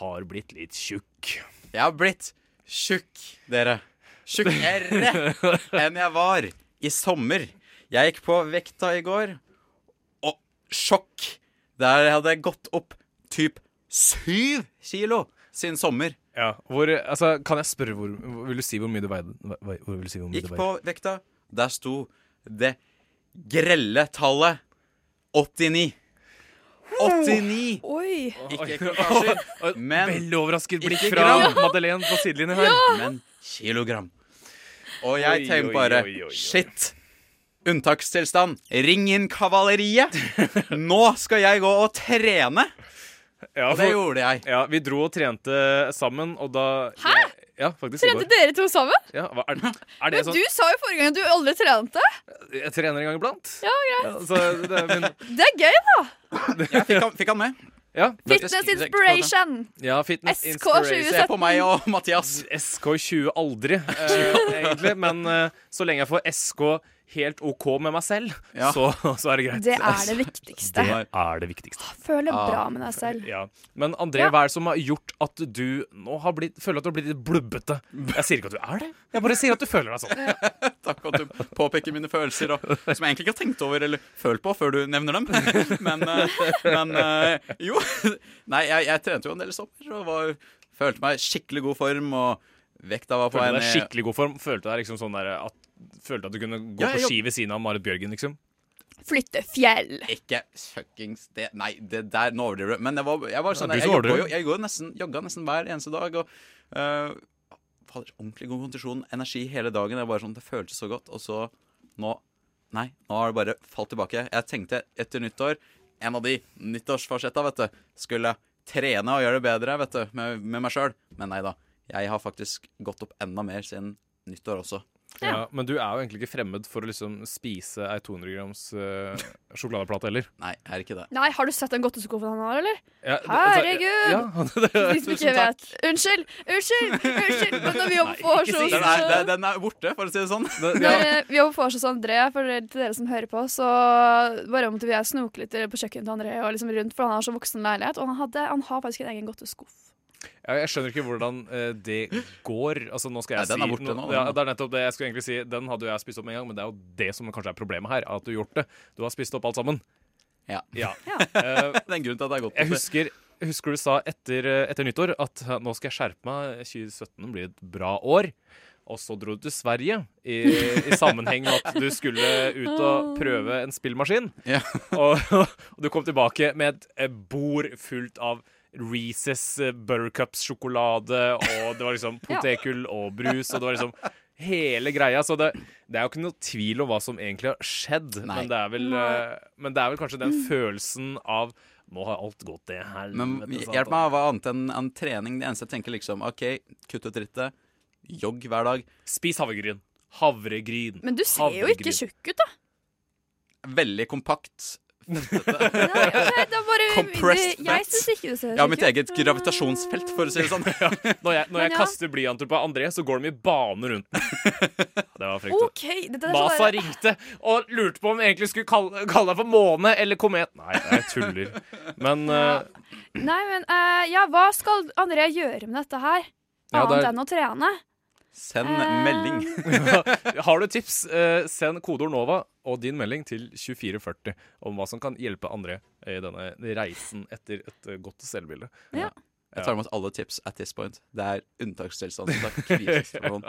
har blitt litt tjukk. Jeg har blitt tjukk, dere. Tjukkere enn jeg var i sommer. Jeg gikk på vekta i går, og sjokk! Der hadde jeg gått opp typ syv kilo siden sommer. Ja, hvor, altså, kan jeg spørre hvor, hvor Vil du si hvor mye du veide? Hva- hva- Hvor vil du si hvor mye Gikk du på vekta. Der sto det grelle tallet 89. 89! Oi. Ikke kroppsvasken, Og et men Veldig overrasket blikk Ikke fra gram. Madeleine på sidelinjen her. men kilogram. Og jeg Oi, tenker oi, bare oi, oi, oi. Shit! Unntakstilstand. Ring inn kavaleriet! Nå skal jeg gå og trene! Ja, Og det gjorde jeg. ja, vi dro og trente sammen, og da Hæ? Ja, faktisk. i Trente går. dere to sammen? Ja, hva er, er det Men sånn du sa jo forrige gang at du aldri trente. Jeg trener en gang iblant. Ja, greit. Ja, altså- så det er min Det er gøy, da. Jeg fikk han, fikk han med. Ja, Fitness inspiration. ja fitness SK inspiration. Se på meg og Mathias. SK20 aldri, eh, egentlig. Men eh, så lenge jeg får SK helt OK med meg selv, Ja. så, så er det greit. Det er det viktigste. Det er det viktigste. Føl deg Ah. bra med deg selv. Ja. Men André, Ja. hva er det som har gjort at du nå har blitt, føler at du har blitt litt blubbete? Jeg sier ikke at du er det, jeg bare sier at du føler deg sånn. Takk for at du påpeker mine følelser, og, som jeg egentlig ikke har tenkt over eller følt på før du nevner dem. Men, eh, men eh, jo. Nei, jeg, jeg trente jo en del i sommer og var, følte meg i skikkelig god form. Og vekta var på Følte en deg i skikkelig god form. Følte deg liksom sånn der at Følte at du kunne gå Ja, på jeg- ski ved siden av Marit Bjørgen, liksom. Flytte fjell. Ikke fuckings det Nei, det der, nå overdriver du. Men jeg var, jeg var sånn Ja, du som der, jeg, jogga overdriver. jo, jeg går nesten, jogga nesten hver eneste dag. Og øh, fader, ordentlig god kondisjon, energi hele dagen. Jeg bare sånn, Det føltes så godt. Og så nå Nei, nå har det bare falt tilbake. Jeg tenkte etter nyttår En av de nyttårsfarsetta, vet du, skulle trene og gjøre det bedre vet du, med, med meg sjøl. Men nei da. Jeg har faktisk gått opp enda mer siden nyttår også. Ja. men du er jo egentlig ikke fremmed for å liksom spise ei 200 grams eh, sjokoladeplate heller. Nei, jeg er ikke det. Nei, har du sett den godteskuffen han har, eller? Ja, det- altså, Herregud! ja, det- De som ikke tusen takk. vet. Unnskyld! Unnskyld! unnskyld. Men når vi jobber på Ikke si- Oslo, Den er, den- den er borte, for å si det sånn. Når eh, vi jobber på Åsjås André, for dere- til dere som hører på, så bare måtte vi snoke litt på kjøkkenet til André, og liksom rundt, for han har så voksen leilighet. Og han, hadde, han har faktisk en egen godteskuff. Jeg, jeg skjønner ikke hvordan eh, det går. Altså, nå skal jeg Nei, den si, er borte nå, den Ja, nå. det er nettopp det jeg skulle egentlig si. Den hadde jo jeg spist opp med en gang, men det er jo det som kanskje er problemet her. At du har gjort det. Du har spist opp alt sammen. Ja. Eh, det er en grunn til at det er godt. jeg husker, jeg husker du sa etter, etter nyttår at eh, nå skal jeg skjerpe meg, 2017 blir et bra år. Og så dro du til Sverige i, i sammenheng med at du skulle ut og prøve en spillmaskin. Og, og du kom tilbake med et eh, bord fullt av Reeces eh, Buttercups-sjokolade, og det var liksom Ja. potetgull og brus, og det var liksom hele greia. Så det, det er jo ikke noe tvil om hva som egentlig har skjedd, men det, er vel, eh, men det er vel kanskje den følelsen av nå har alt gått til Men helvete. hjelp meg, hva annet enn enn trening? Det eneste jeg tenker liksom, ok, kutt ut drittet, jogg hver dag. Spis havregryn. Havregryn. Men du ser jo ikke tjukk ut, da. Veldig kompakt. Nei, da bare, Compressed det, fat. jeg syns ikke du ser Ja, tjukk mitt ut. eget gravitasjonsfelt, for å si det sånn. Når jeg, når Men jeg ja. kaster blyanter på André, så går de i bane rundt den. Det var frekt. OK! Dette er så Masa bare- ringte og lurte på om jeg egentlig skulle kalle, kalle deg for måne eller komet. Nei, jeg tuller. Men eh, Nei, men eh, ja, hva skal André gjøre med dette her? Ja, Annet det er- enn å trene? Send melding. Har du tips, eh, send kodeord NOVA og din melding til 2440 om hva som kan hjelpe andre i denne reisen etter et eh, godt selvbilde. Ja. Jeg tar imot alle tips at this point. Det er unntakstilstand. så takk. Krisesituasjon.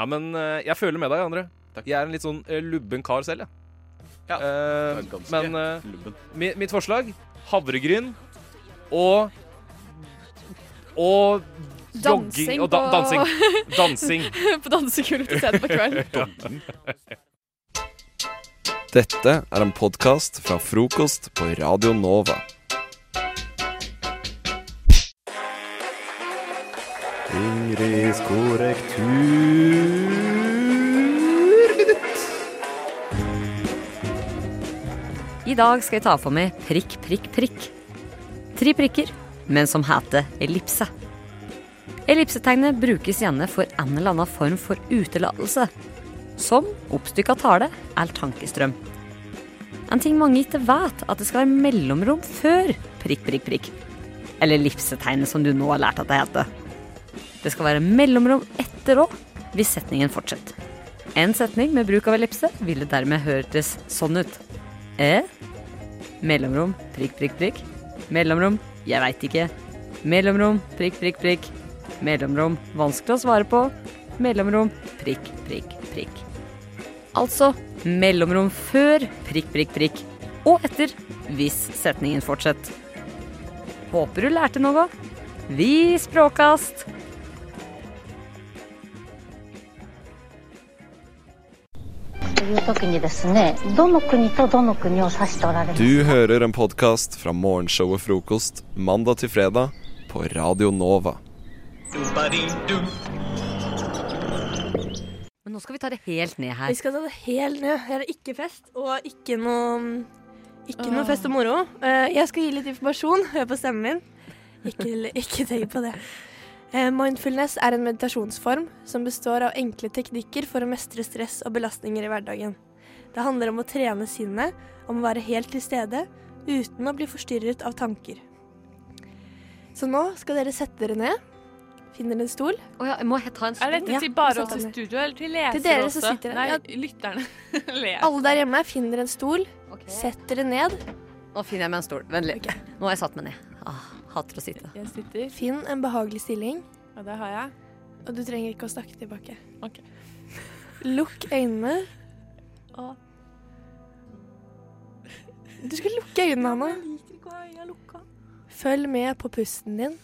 Nei, men eh, jeg føler med deg, André. Jeg er en litt sånn eh, lubben kar selv, jeg. Eh, du er ganske men eh, mi- mitt forslag havregryn og og jogging og da, dansing. Dansing. på dansegulvet til sent på kvelden. Dette er en podkast fra frokost på Radio Nova. Ingrids korrektur. I dag skal jeg ta for meg prikk, prikk, prikk. Tre prikker, men som heter ellipse. Ellipsetegnet brukes gjerne for en eller annen form for utelatelse, som oppstykka tale eller tankestrøm. En ting mange ikke vet, at det skal være mellomrom før prikk, prikk, prikk. Eller ellipsetegnet, som du nå har lært at det heter. Det skal være mellomrom etter òg, hvis setningen fortsetter. En setning med bruk av ellipse ville dermed hørtes sånn ut. E, mellomrom, prikk, prikk, prikk. Mellomrom, jeg veit ikke. Mellomrom, prikk, prikk, prikk. Mellomrom, vanskelig å svare på. Mellomrom, prikk, prikk, prikk. Altså mellomrom før prikk, prikk, prikk. Og etter, hvis setningen fortsetter. Håper du lærte noe. Vi språkast! という時にですねどの国とどの国を指しておられますか Du hører en podkast fra morgenshowet Frokost mandag til fredag på Radio Nova. Men nå skal vi ta det helt ned her. Vi skal ta det helt ned. Her er ikke fest, og ikke noe mm, Ikke Åh. noe fest og moro. Eh, Jeg skal gi litt informasjon. Hør på stemmen min. Ikke, ikke tenk på det. Eh, Mindfulness er en meditasjonsform som består av enkle teknikker for å mestre stress og belastninger i hverdagen. Det handler om å trene sinnet, om å være helt til stede, uten å bli forstyrret av tanker. Så nå skal dere sette dere ned. Finner en stol. Er dette Ja, til sett bare oss deg i ned. studio, eller til lesere Til dere også? som sitter Nei, her. lytterne. Ler. Alle der hjemme finner en stol, setter det ned. Nå finner jeg meg en stol. Vennlig. Nå har jeg satt meg ned. Ah, hater å sitte. Finn en behagelig stilling. Og det har jeg. Og du trenger ikke å snakke tilbake. Lukk øynene. Og Du skal lukke øynene, Hanna. Følg med på pusten din.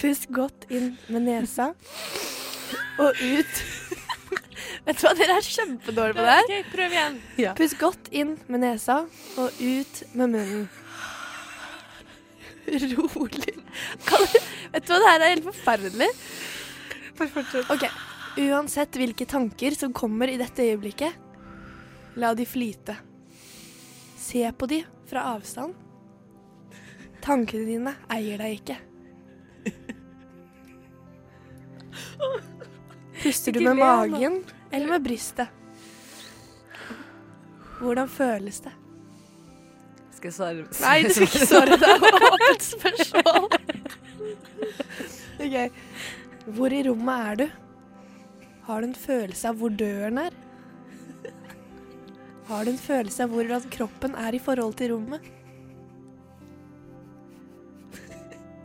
Pust godt inn med nesa og ut. Vet du hva, dere er kjempedårlige på det her. Ok, prøv igjen. Pust godt inn med nesa og ut med munnen. Rolig. Kan, vet du hva, det her er helt forferdelig. Ok, Uansett hvilke tanker som kommer i dette øyeblikket, la de flyte. Se på de fra avstand. Tankene dine eier deg ikke. Puster du Ikke med le nå. magen eller med brystet? Hvordan føles det? Skal jeg svare? Nei, du skal ikke svare. Det var åpent spørsmål. OK. Hvor i rommet er du? Har du en følelse av hvor døren er? Har du en følelse av hvordan kroppen er i forhold til rommet?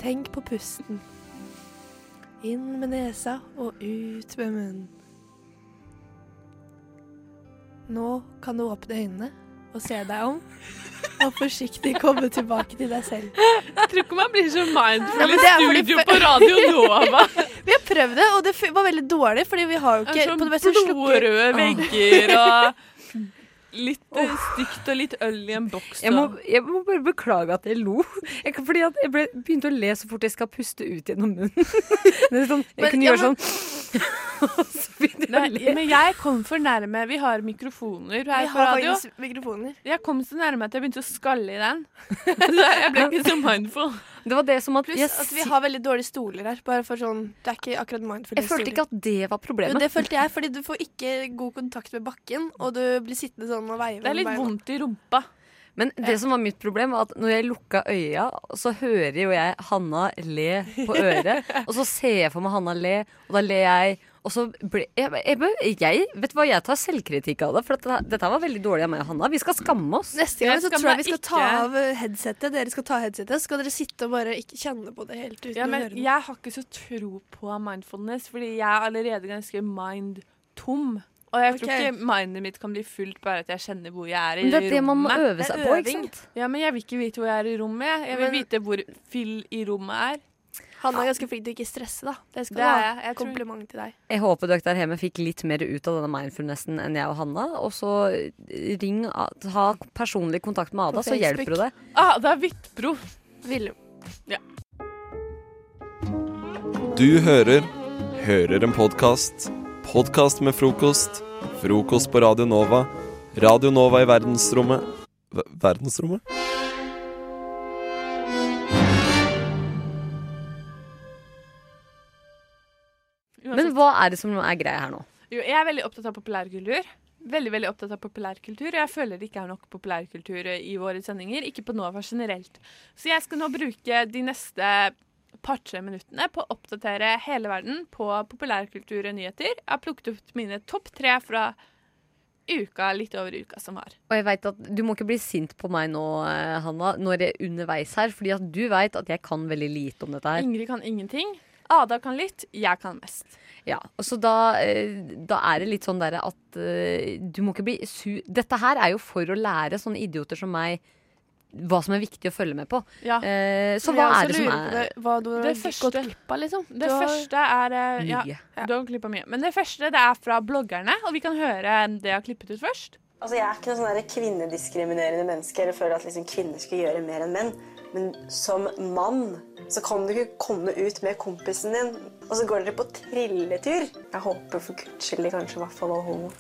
Tenk på pusten. Inn med nesa og ut med munnen. Nå kan du åpne øynene og se deg om, og forsiktig komme tilbake til deg selv. Jeg tror ikke man blir så mindful Nei, i men det er fordi- studio på Radio Nova. vi har prøvd det, og det f- var veldig dårlig, fordi vi har jo ikke Sånn på det beste slukker- blodrøde Åh. vegger og litt eh, stygt og litt øl i en boks. Jeg må, og- jeg må bare beklage at jeg lo. Jeg, kan- fordi at jeg ble, begynte å le så fort jeg skal puste ut gjennom munnen. Det er sånn, jeg Men- kunne ja, gjøre men- sånn Nei, men jeg kom for nærme. Vi har mikrofoner her Vi på har radio. faktisk mikrofoner. Jeg kom så nærme at jeg begynte å skalle i den. Så jeg ble ikke så mindful. Det var det som at Pluss jeg, at vi har veldig dårlige stoler her. Bare for sånn, Det er ikke akkurat mindful. jeg følte ikke at det var problemet. Jo, det følte jeg, fordi du får ikke god kontakt med bakken, og du blir sittende sånn og veive Det er litt vondt i rumpa. Men det som var mitt problem, var at når jeg lukka øya, så hører jo jeg Hanna le på øret. og så ser jeg for meg Hanna le, og da ler jeg. Og så ble jeg, jeg, jeg, Vet du hva, jeg tar selvkritikk av det, for dette, dette var veldig dårlig av meg og Hanna. Vi skal skamme oss. Neste gang så tror jeg vi skal ta av eh, headsetet. Dere skal ta av headsetet, så skal dere sitte og bare ikke kjenne på det helt uten Ja, men å høre noe. jeg har ikke så tro på mindfulness, fordi jeg er allerede ganske mind-tom. Og jeg tror Ok. ikke mindet mitt kan bli fullt bare at jeg kjenner hvor jeg er i Men det er det man må rommet. øve seg Det er på, ikke øving. sant? Ja, men jeg vil ikke vite hvor jeg er i rommet. jeg. Jeg vil Men- vite hvor fyll i rommet er. Han er ganske flink til å ikke stresse, da. Det skal Det det er jeg. være Jeg tror- kompliment til deg. Jeg håper dere der hjemme fikk litt mer ut av denne mindfulnessen enn jeg og Hanna. Og så ring, ha personlig kontakt med Ada, så hjelper du deg. Ah, det er Hvittbro. Ja. Du hører Hører en podkast. Podkast med frokost. Frokost på Radio Nova. Radio Nova i verdensrommet Ver- Verdensrommet? Men hva er det som er greia her nå? Jo, jeg er veldig opptatt av populærkultur. Veldig, veldig opptatt av populærkultur, og jeg føler det ikke er nok populærkultur eh, i våre sendinger. Ikke på Nova generelt. Så jeg skal nå bruke de neste par-tre minuttene på å oppdatere hele verden på populærkultur og nyheter. Jeg har plukket ut mine topp tre fra uka, litt over uka som var. Og jeg vet at Du må ikke bli sint på meg nå, eh, Hanna, når jeg er underveis her. Fordi at du vet at jeg kan veldig lite om dette her. Ingrid kan ingenting. Ada kan litt. Jeg kan mest. Ja, og Så da, eh, da er det litt sånn derre at eh, du må ikke bli su... Dette her er jo for å lære sånne idioter som meg hva som er viktig å følge med på. Eh, så Men jeg hva også er det som lurer på er det, hva du har Det gått glipp av, liksom? Det Du har- første er eh, ja, Mye. Du har klippet mye. Men det første det er fra bloggerne, og vi kan høre det jeg har klippet ut først. Altså, Jeg er ikke noe sånn der kvinnediskriminerende menneske eller føler at liksom kvinner skal gjøre mer enn menn. Men som mann så kan du ikke komme ut med kompisen din, og så går dere på trilletur. Jeg håper for guds skyld de kanskje i hvert fall var homo.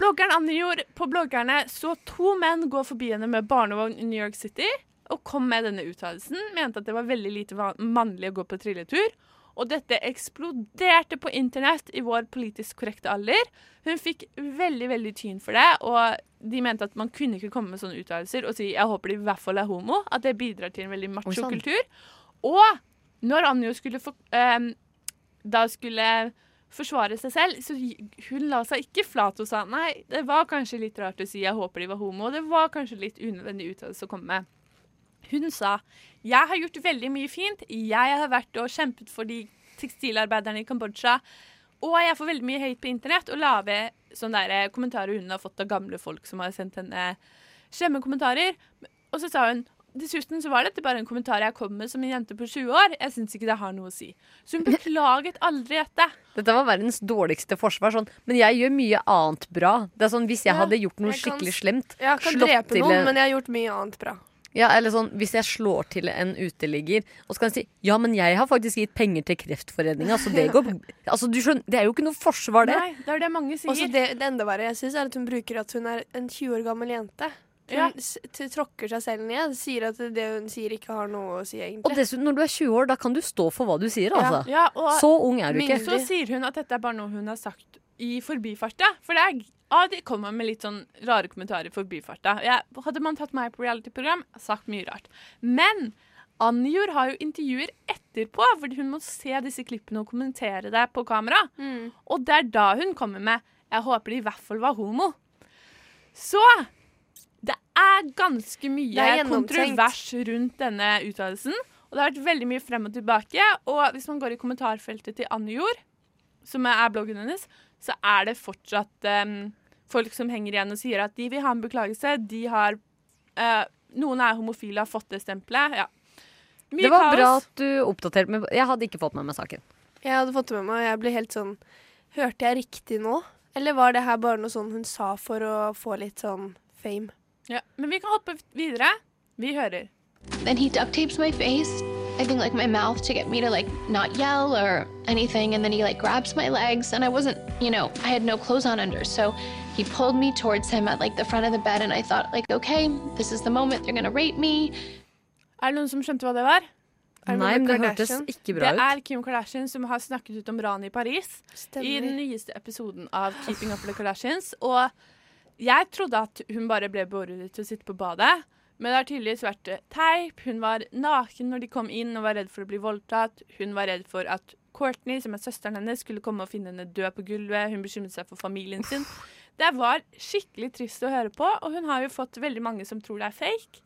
Bloggeren angjorde på bloggerne så to menn gå forbi henne med barnevogn i New York City og kom med denne uttalelsen. Mente at det var veldig lite van- mannlig å gå på trilletur. Og dette eksploderte på internett i vår politisk korrekte alder. Hun fikk veldig veldig tyn for det, og de mente at man kunne ikke komme med sånne uttalelser og si 'jeg håper de i hvert fall er homo', at det bidrar til en veldig macho sann. kultur. Og når Anjo skulle få, ehm, da skulle forsvare seg selv, så gi- hun la seg ikke flat og sa nei, det var kanskje litt rart å si jeg håper de var homo, og det var kanskje litt unødvendig uttalelse å komme med. Hun sa jeg har gjort veldig mye fint, jeg har vært og kjempet for de tekstilarbeiderne i Kambodsja, og jeg får veldig mye hate på internett og lave sånne der eh, kommentarer hun har fått av gamle folk som har sendt henne slemme kommentarer. Og så sa hun Dessuten så var dette bare en kommentar jeg kom med som en jente på 20 år. Jeg syns ikke det har noe å si. Så hun beklaget aldri dette. Dette var verdens dårligste forsvar. Sånn. Men jeg gjør mye annet bra. Det er sånn, Hvis jeg hadde gjort noe Jeg kan- skikkelig slemt Jeg kan slått drepe til noen, en- men jeg har gjort mye annet bra. Ja, eller sånn, Hvis jeg slår til en uteligger, og så kan jeg si ja, men jeg har faktisk gitt penger til Kreftforeninga, så det går altså, du skjønner, Det er jo ikke noe forsvar, det. det er det mange sier. Også det, det enda verre jeg synes er at hun bruker at hun er en 20 år gammel jente. Hun Ja. s- t- tråkker seg selv ned. Sier at det hun sier, ikke har noe å si, egentlig. Og dessuten, når du er 20 år, da kan du stå for hva du sier, altså. Ja, og så ung er du ikke. Så sier hun at dette er bare noe hun har sagt i forbifarta. For det er, ja, de kommer med litt sånn rare kommentarer i forbifarta. Jeg, hadde man tatt meg på reality-program, sagt mye rart. Men Anjor har jo intervjuer etterpå, fordi hun må se disse klippene og kommentere det på kamera. Og det er da hun kommer med 'Jeg håper de i hvert fall var homo'. Så det er ganske Det mye er gjennomtenkt. kontrovers rundt denne uttalelsen. Og det har vært veldig mye frem og tilbake. Og hvis man går i kommentarfeltet til Anne Jord, som er bloggen hennes, så er det fortsatt em, folk som henger igjen og sier at de vil ha en beklagelse. De har eh, Noen er homofile, har fått det stempelet. Ja. Det var bra at du oppdaterte meg. Jeg hadde ikke fått med meg saken. Jeg hadde fått det med meg, og jeg ble helt sånn Hørte jeg riktig nå? Eller var det her bare noe sånn hun sa for å få litt sånn fame? Ja, men vi kan hoppe videre. Vi hører. And he duct tapes my face, I think like my mouth to get me to like not yell or anything. And then he like grabs my legs, and I wasn't, you know, I had no clothes on under. So he pulled me towards him at like the front of the bed, and I thought, like, okay, this is the moment they're gonna rape me. Er det noen som skjønte hva det var? Er det Nei, noe med men det hørtes Kardashian? ikke bra Det ut. er Kim Kardashian som har snakket ut om ranet i Paris. I den nyeste episoden av Keeping Up with the Kardashians. Og jeg trodde at hun bare ble beordret til å sitte på badet. Men det har tydeligvis vært eh, teip. Hun var naken når de kom inn og var redd for å bli voldtatt. Hun var redd for at Courtney, som er søsteren hennes, skulle komme og finne henne død på gulvet. Hun bekymret seg for familien sin. Det var skikkelig trist å høre på, og hun har jo fått veldig mange som tror det er fake.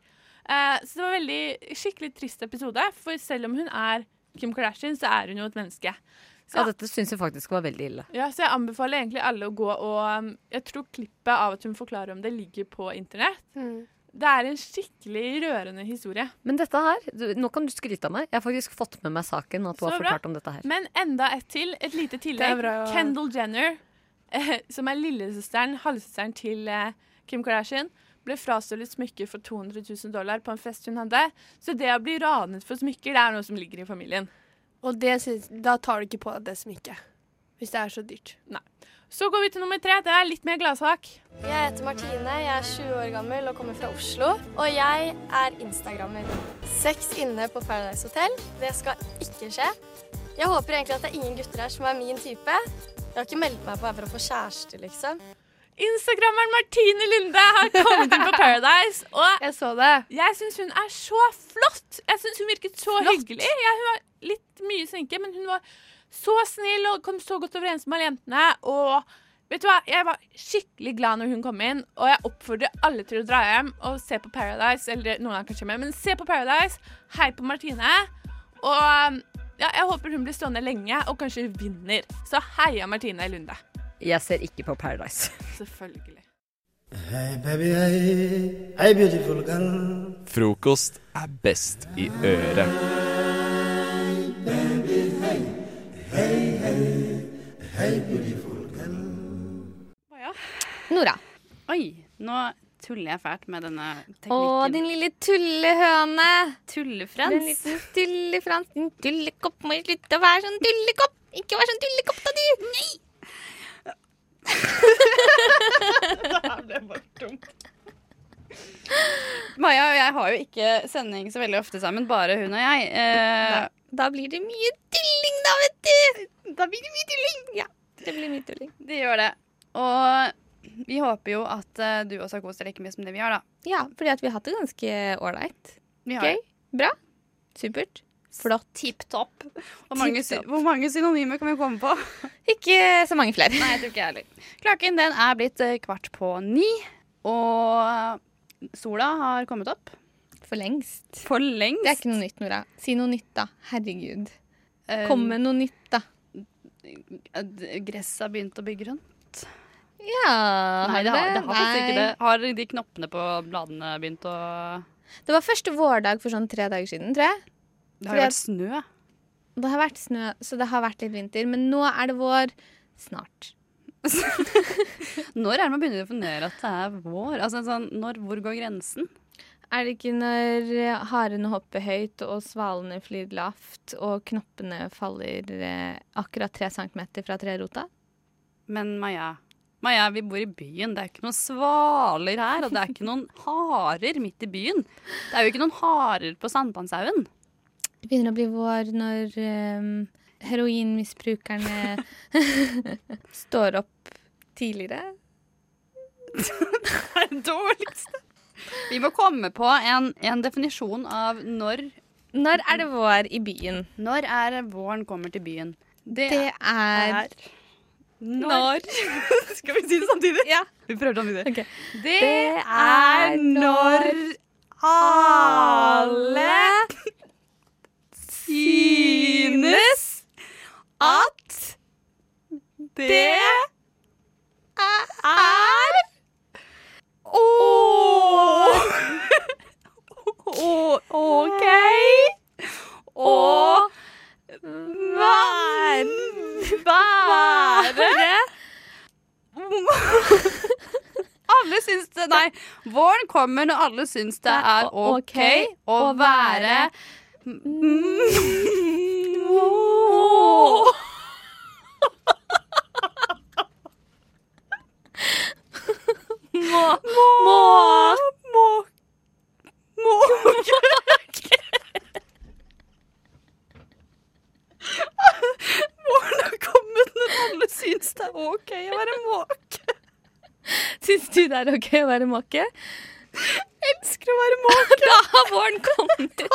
Eh, så det var veldig skikkelig trist episode, for selv om hun er Kim Kardashian, så er hun jo et menneske. Så, Ja, dette syns jeg faktisk var veldig ille. ja, så jeg anbefaler egentlig alle å gå og um, Jeg tror klippet av at hun forklarer om det, ligger på internett. Det er en skikkelig rørende historie. Men dette her, du, nå kan du skryte av meg. Jeg har faktisk fått med meg saken. og at du Så har bra. fortalt om dette her. Men enda et til. Et lite tillegg. bra, ja. Kendall Jenner, eh, som er lillesøsteren, halvsøsteren til eh, Kim Kardashian, ble frastjålet smykker for 200 000 dollar på en fest hun hadde. Så det å bli ranet for smykker, det er noe som ligger i familien. Og det syns- da tar du ikke på deg det smykket. Hvis det er så dyrt. Nei. Så går vi til nummer tre. Det er litt mer gladsak. Jeg heter Martine, jeg er 20 år gammel og kommer fra Oslo. Og jeg er instagrammer. Sex inne på Paradise Hotel, det skal ikke skje. Jeg håper egentlig at det er ingen gutter her som er min type. Jeg har ikke meldt meg på her for å få kjæreste, liksom. Instagrammeren Martine Lunde har kommet inn på Paradise. Og jeg så det. Jeg syns hun er så flott. Jeg syns hun virket så hyggelig. Ja, hun var litt mye sminke, men hun var så snill og kom så godt overens med alle jentene. Og vet du hva, jeg var skikkelig glad når hun kom inn, og jeg oppfordrer alle til å dra hjem og se på Paradise. Eller noen er kanskje med, men se på Paradise. Hei på Martine. Og ja, jeg håper hun blir stående lenge og kanskje vinner. Så heia Martine Lunde. Jeg ser ikke på Paradise. Selvfølgelig. Hey baby, hey, hey beautiful girl. Frokost er best i øret. Nora. Oi, nå tuller jeg fælt med denne teknikken. Å, din lille tullehøne. Tullefrans. Den liten tullefrans. Din tullekopp må slutte å være sånn tullekopp. Ikke vær sånn tullekopp, da, du. Nei. Maja og jeg har jo ikke sending så veldig ofte sammen, bare hun og jeg. Eh, Da blir det mye tulling, da, vet du. Da blir det mye tulling. Ja, det blir mye tulling. det gjør det. Og vi håper jo at eh, du også har kost deg like mye som det vi har, da. Ja, fordi at vi har hatt det ganske ålreit. Vi har Gøy. det. Bra. Supert. Flott. Tipp topp. Hvor mange, Tipp sy- hvor mange synonymer kan vi komme på? Ikke så mange flere. Nei, jeg tror ikke jeg heller. Klokken den er blitt eh, kvart på ni, og sola har kommet opp. For lengst. For lengst. Det er ikke noe nytt, Nora. Si noe nytt, da. Herregud. Eh, Kom med noe nytt, da. Gresset har begynt å bli grønt. Ja Nei, det har, det har faktisk ikke det. nei. Har de knoppene på bladene begynt å Det var første vårdag for sånn tre dager siden, tror jeg. Det har Fordi jo vært at- snø. Det har vært snø, så det har vært litt vinter. Men nå er det vår snart. Når er det man begynner å definere at det er vår? Altså, sånn, når, hvor går grensen? Er det ikke når harene hopper høyt og svalene flyr lavt og knoppene faller eh, akkurat tre centimeter fra trerota? Men Maja, Maja, vi bor i byen. Det er ikke noen svaler her, og det er ikke noen harer midt i byen. Det er jo ikke noen harer på Sandpanshaugen. Det begynner å bli vår når ehm, heroinmisbrukerne står opp tidligere. Dårligste. Vi må komme på en, en definisjon av når Når er det vår i byen? Når er det våren kommer til byen? Det, er, Når Skal vi si det samtidig? Ja. Vi prøver samtidig. Det, Det er er når alle synes at det er å- å- OK å være Være Alle syns det Nei. Våren kommer når alle syns det er OK å være Åh. Må Må Må Måke Våren er kommet når alle syns det er OK å være måke. Syns du det er OK å være måke? Elsker å være måke. Da har våren kommet.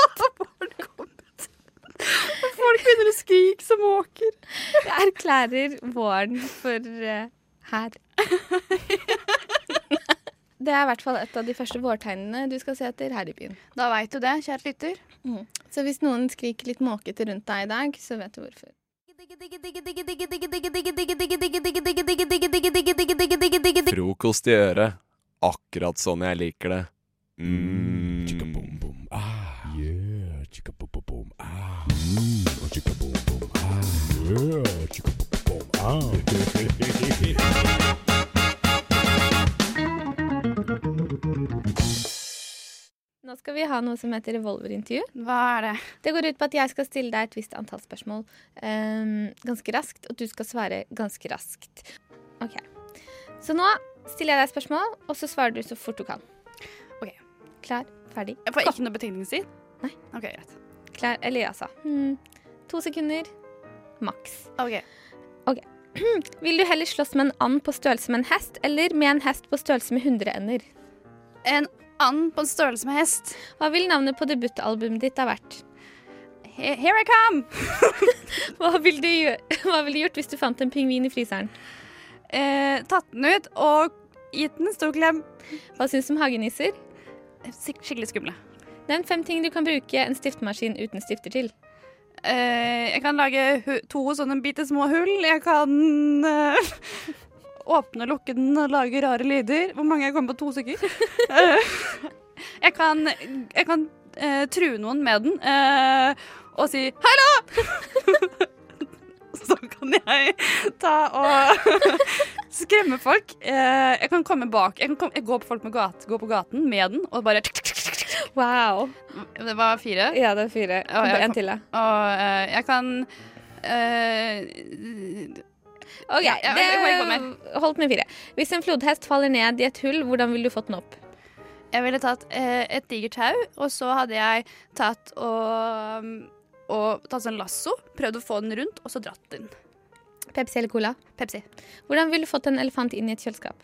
Folk begynner å skrike som måker. Jeg erklærer våren for eh, her. Det er i hvert fall et av de første vårtegnene du skal se etter her i byen. Mm. Da veit du det, kjære lytter. Så hvis noen skriker litt måkete rundt deg i dag, så vet du hvorfor. Frokost i øret. Akkurat sånn jeg liker det. Mm. Nå skal vi ha noe som heter revolverintervju. Hva er det? Det går ut på at jeg skal stille deg et visst antall spørsmål ehm, ganske raskt, og du skal svare ganske raskt. OK. Så nå stiller jeg deg spørsmål, og så svarer du så fort du kan. OK. Klar, ferdig. Jeg får ikke noe betingelse? Nei. Ok, greit. Klar, eller ja, sa. Hmm. To sekunder. Maks. Ok. Ok. Vil du heller slåss med en and på størrelse med en hest, eller med en hest på størrelse med 100 ender? En and på størrelse med hest. Hva vil navnet på debutalbumet ditt ha vært? He- Here I come! Hva ville du, gjø- hva ville du gjort hvis du fant en pingvin i fryseren? Eh, tatt den ut og gitt den en stor klem. Eh, Hva syns du om hagenisser? Sik- Skikkelig skumle. Nevn fem ting du kan bruke en stiftemaskin uten stifter til. Eh, jeg kan lage hu to sånne sånn bitte små hull. Jeg kan eh, åpne og lukke den og lage rare lyder. Hvor mange jeg kommer på to stykker? Eh, jeg kan, jeg kan eh, true noen med den eh, og si 'hallo'! Så kan jeg ta og skremme folk. Eh, jeg kan komme bak Jeg kan kom- jeg går på folk med gat, gå på gaten med den og bare Wow. Det var fire? Ja, det er fire. Og jeg En kan- til, da. Og eh, jeg kan eh, OK, ja, jeg- jeg kommer ikke på mer. det holdt med fire. Hvis en flodhest faller ned i et hull, hvordan ville du fått den opp? Jeg ville tatt eh, et digert tau, og så hadde jeg tatt og, og tatt sånn lasso, prøvd å få den rundt, og så dratt den. Pepsi eller cola? Pepsi. Hvordan ville du fått en elefant inn i et kjøleskap?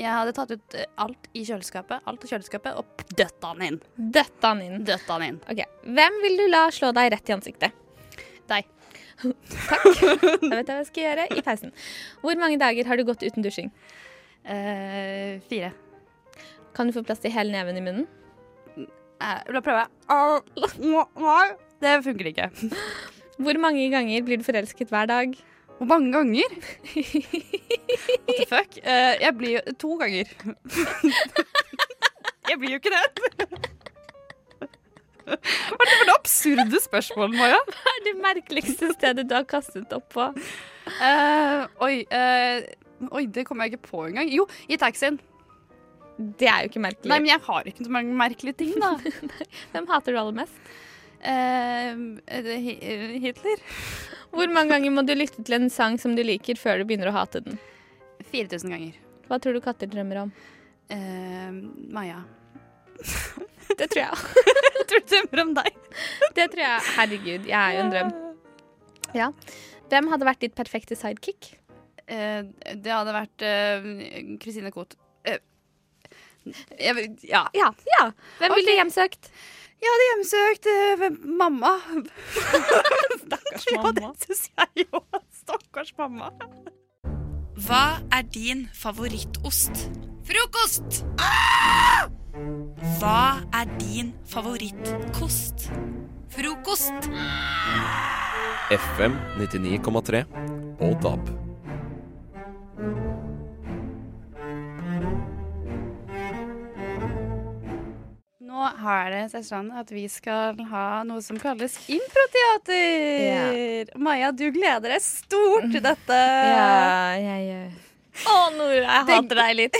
Jeg hadde tatt ut eh, alt i kjøleskapet, alt i kjøleskapet, og døtta den inn. Døtta han inn. Døtta han inn. Ok, Hvem vil du la slå deg rett i ansiktet? Deg. Takk. Da vet jeg hva jeg skal gjøre i pausen. Hvor mange dager har du gått uten dusjing? Eh, fire. Kan du få plass til hele neven i munnen? Eh, da prøver jeg. Det funker ikke. Hvor mange ganger blir du forelsket hver dag? Hvor mange ganger? What the fuck? Eh, jeg blir jo to ganger. jeg blir jo ikke det. Hva er det for noe absurde spørsmål, Maja? Hva er det merkeligste stedet du har kastet opp på? Eh, oi, eh, oi, det kommer jeg ikke på engang. Jo, i taxien. Det er jo ikke merkelig. Nei, men jeg har ikke så mange merkelige ting, da. Hvem hater du aller mest? Eh, Hitler. Hvor mange ganger må du lytte til en sang som du liker, før du begynner å hate den? 4000 ganger. Hva tror du katter drømmer om? Eh, Maja. Det tror jeg. jeg tror du drømmer om deg. Det tror jeg. Herregud, jeg er jo en drøm. Ja. Hvem hadde vært ditt perfekte sidekick? Eh, det hadde vært eh, Christine Koht. Eh, jeg, vil- ja. ja. Hvem ville Ok. du hjemsøkt? Jeg hadde hjemsøkt eh, mamma. Stakkars mamma. Ja, det syns jeg jo. Stakkars mamma. Hva er din favorittost? Frokost! Ah! Hva er din favorittkost? Frokost! FM 99,3 og DAB. Nå er det seg sånn at vi skal ha noe som kalles improteater. Maja, du gleder deg stort til dette. Ja, jeg gjør Å, Nora, jeg hater deg litt.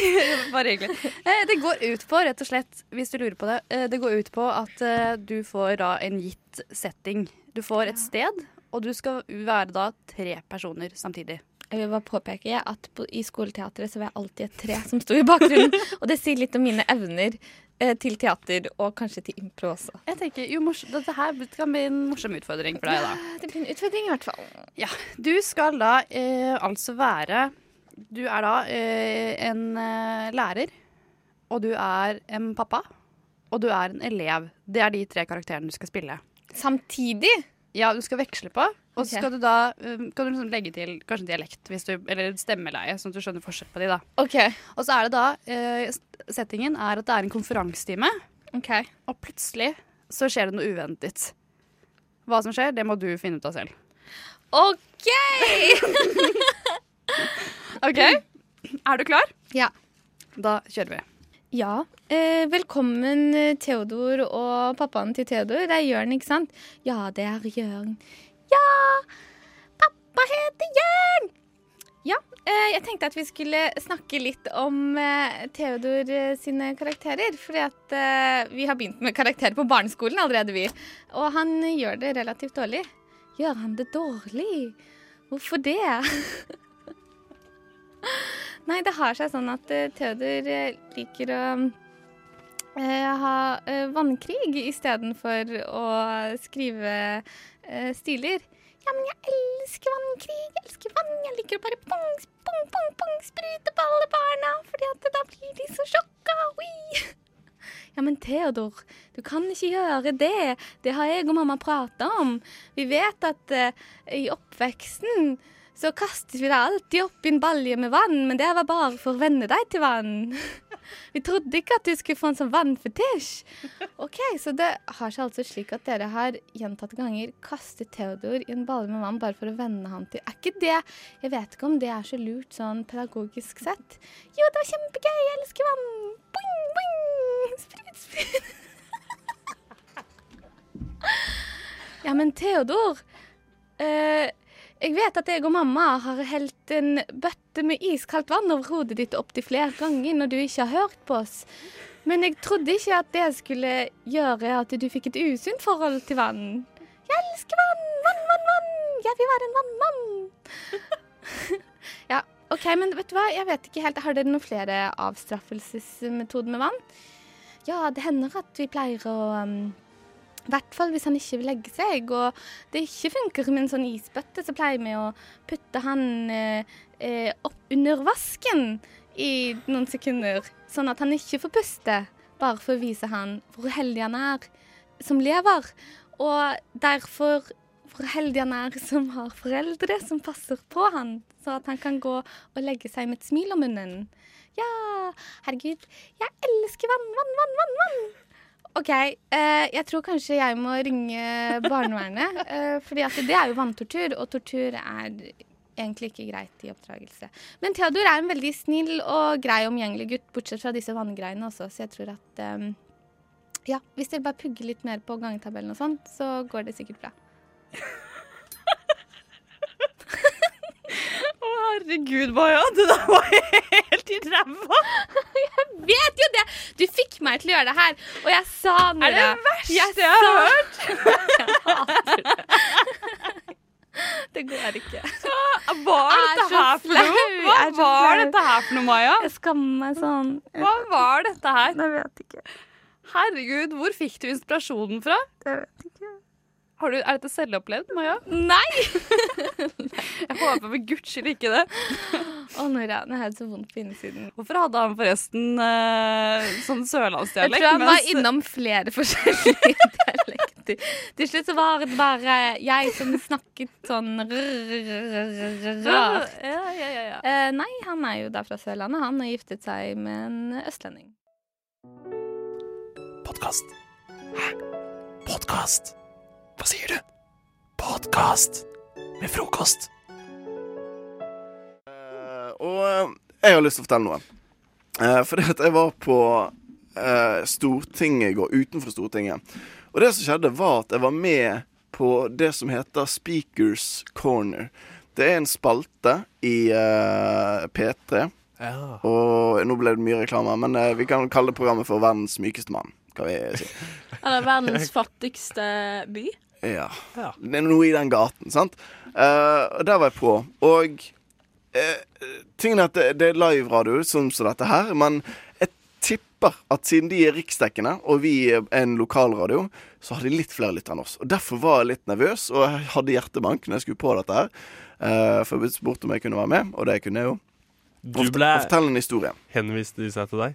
Bare hyggelig. Eh, Det går ut på, rett og slett, hvis du lurer på det, eh, det går ut på at eh, du får da en gitt setting. Du får et sted, og du skal være da tre personer samtidig. Jeg vil bare påpeke at på, i skoleteatret så var jeg alltid et tre som sto i bakgrunnen. og det sier litt om mine evner eh, til teater, og kanskje til impro også. Jeg tenker, jo, mors Dette her kan bli en morsom utfordring for deg, da. Det blir en utfordring i hvert fall. Ja, du skal da eh, altså være Du er da eh, en eh, lærer, og du er en pappa, og du er en elev. Det er de tre karakterene du skal spille. Samtidig? Ja, du skal veksle på. Og så Ok. skal du da eh, kan du liksom legge til kanskje dialekt, hvis du, eller stemmeleie, sånn at du skjønner forskjell på de, da. Og så er det da eh, s- Settingen er at det er en konferansetime, og plutselig så skjer det noe uventet. Hva som skjer, det må du finne ut av selv. OK! OK? Er du klar? Ja. Da kjører vi. Ja. Eh, velkommen, eh, Theodor og pappaen til Theodor. Det er Jørn, ikke sant? Ja, det er Jørn. Ja! Pappa heter Jørn! Ja, eh, jeg tenkte at vi skulle snakke litt om eh, Theodor eh, sine karakterer. Fordi at eh, vi har begynt med karakterer på barneskolen allerede, vi. Og han eh, gjør det relativt dårlig. Gjør han det dårlig? Hvorfor det? Nei, det har seg sånn at eh, Theodor eh, liker å eh, ha eh, vannkrig istedenfor å skrive eh, stiler. Ja, men jeg elsker vannkrig, jeg elsker vann. Jeg liker å bare pong, pong, pong, pong, sprute på alle barna, fordi at da blir de så sjokka. Oi! Ja, men Theodor, du kan ikke gjøre det. Det har jeg og mamma prata om. Vi vet at eh, i oppveksten så kastet vi deg alltid opp i en balje med vann, men det var bare for å venne deg til vann. Vi trodde ikke at du skulle få en sånn vannfetisj. OK, så det har seg altså slik at dere har gjentatte ganger kastet Theodor i en balje med vann bare for å venne han til Er ikke det Jeg vet ikke om det er så lurt sånn pedagogisk sett. Jo, det var kjempegøy, jeg elsker vann. Boing, boing. Sprut, sprut. Ja, men Theodor eh, Jeg vet at jeg og mamma har helt en bøtte med iskaldt vann over hodet ditt opptil flere ganger når du ikke har hørt på oss. Men jeg trodde ikke at det skulle gjøre at du fikk et usunt forhold til vann. Jeg elsker vann! Vann, vann, vann! Jeg vil være en vannmann! ja, OK, men vet du hva? Jeg vet ikke helt. Har dere noen flere avstraffelsesmetoder med vann? Ja, det hender at vi pleier å um, i hvert fall hvis han ikke vil legge seg. Og det ikke funker med en sånn isbøtte, så pleier vi å putte han eh, eh, opp under vasken i noen sekunder. Sånn at han ikke får puste. Bare for å vise han hvor heldig han er som lever. Og derfor hvor heldig han er som har foreldre som passer på han. Så at han kan gå og legge seg med et smil om munnen. Ja, herregud, jeg elsker vann, vann, vann, vann, vann. OK. Eh, jeg tror kanskje jeg må ringe barnevernet. Eh, fordi at det er jo vanntortur, og tortur er egentlig ikke greit i oppdragelse. Men Theodor er en veldig snill og grei omgjengelig gutt, bortsett fra disse vanngreiene også, så jeg tror at eh, Ja, hvis dere bare pugger litt mer på gangetabellen og sånn, så går det sikkert bra. Å, Herregud, Maja. Det der var helt i ræva. Jeg vet jo det! Du fikk meg til å gjøre det her. Og jeg sa Nora Er det verste jeg, jeg har sa- hørt? Det går ikke. Hva er dette her for noe? Hva var dette her for noe, Maja? Jeg skammer meg sånn. Hva var dette her? Jeg vet ikke. Herregud, hvor fikk du inspirasjonen fra? Jeg vet ikke. Har du, er dette selvopplevd, Maja? Nei! Jeg håper for guds skyld ikke det. Å, Nora, nå har jeg så vondt på innsiden. Hvorfor hadde han forresten eh, sånn Jeg sørlandsdialekt? tror han mens- var innom flere forskjellige dialekter. Til slutt så var det bare jeg som snakket sånn rart. Ja, ja, ja, ja. Eh, nei, han er jo der fra Sørlandet. Han har giftet seg med en østlending. Podkast. Hæ? Podkast? Hva sier du? Podkast med frokost. Eh, Og eh, jeg har lyst til å fortelle noe. Eh, Fordi at jeg var på eh, Stortinget i går, utenfor Stortinget. Og det som skjedde, var at jeg var med på det som heter Speakers Corner. Det er en spalte i eh, P3. Ja. Og nå ble det mye reklame, men eh, vi kan kalle det programmet for Verdens mykeste mann. Kan vi si. Eller verdens fattigste by. Ja. Ja. Det er noe i den gaten, sant? Eh, og der var jeg på. Og uh, tingen er at det, det er live-radio, sånn som dette her, men jeg tipper at siden de er riksdekkende, og vi er en lokalradio, så har de litt flere lyttere enn oss. Og derfor var jeg litt nervøs, og jeg hadde hjertebank når jeg skulle på dette her. Eh, for jeg ble spurt om jeg kunne være med, og det kunne jeg jo. Du Og ble fort- og Fortell en historie. Eh, Henviste de seg til deg?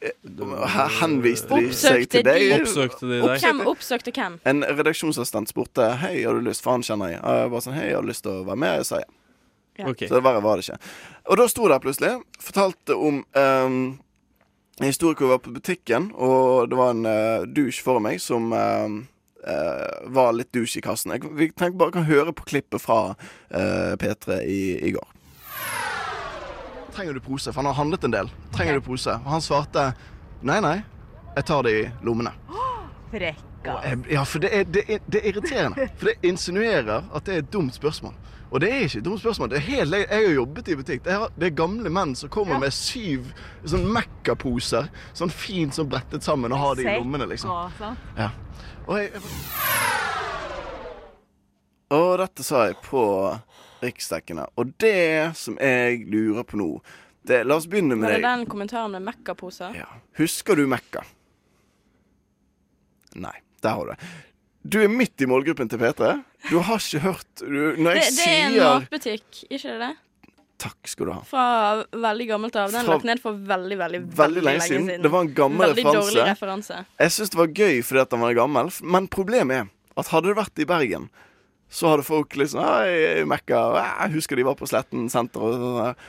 Her Henviste de seg til deg? Oppsøkte de deg? Hvem oppsøkte hvem? En redaksjonsassistent spurte Hei, har du lyst, for han kjenner jeg Og jeg bare sånn, hei, har du lyst til å være med? Jeg sa ja Ja. Ok. Så det verre var det ikke Og da sto der plutselig Fortalte om ehm, En historie hvor jeg var på butikken Og det var en uh, douche for meg Som ehm, eh, var litt douche i kassen Jeg vi tenker bare kan høre på klippet fra eh, P3 i, i går Trenger du pose? For han har handlet en del Trenger du pose? Og han svarte Nei, nei, jeg tar det i lommene Frekka. Eh, Ja, for det er, det, er, det er irriterende. For det insinuerer at det er et dumt spørsmål. Og det er ikke et dumt spørsmål. Det er helt, jeg jeg har jobbet i butikk. Det er, det er gamle menn som kommer med syv sånn Mekka-poser. Sånn fint sånn brettet sammen og har er det i lommene, liksom. Ja. Og, jeg, og dette sa jeg på riksdekkene. Og det som jeg lurer på nå det, La oss begynne med Var det deg. den kommentaren med Mekka-poser? Husker du Mekka? Nei, der har du det. Du er midt i målgruppen til P3. Du har ikke hørt du, Når Det, det jeg er en sier matbutikk, ikke det? Takk skal du ha. Fra veldig gammelt av. Den er Fra- lagt ned for veldig, veldig, veldig, Veldig lenge siden. Det var en gammel veldig referanse. dårlig referanse. Jeg syns det var gøy fordi at han var gammel, men problemet er at hadde det vært i Bergen, så hadde folk liksom Hei, Mekka, jeg husker de var på Sletten senter og sånn der.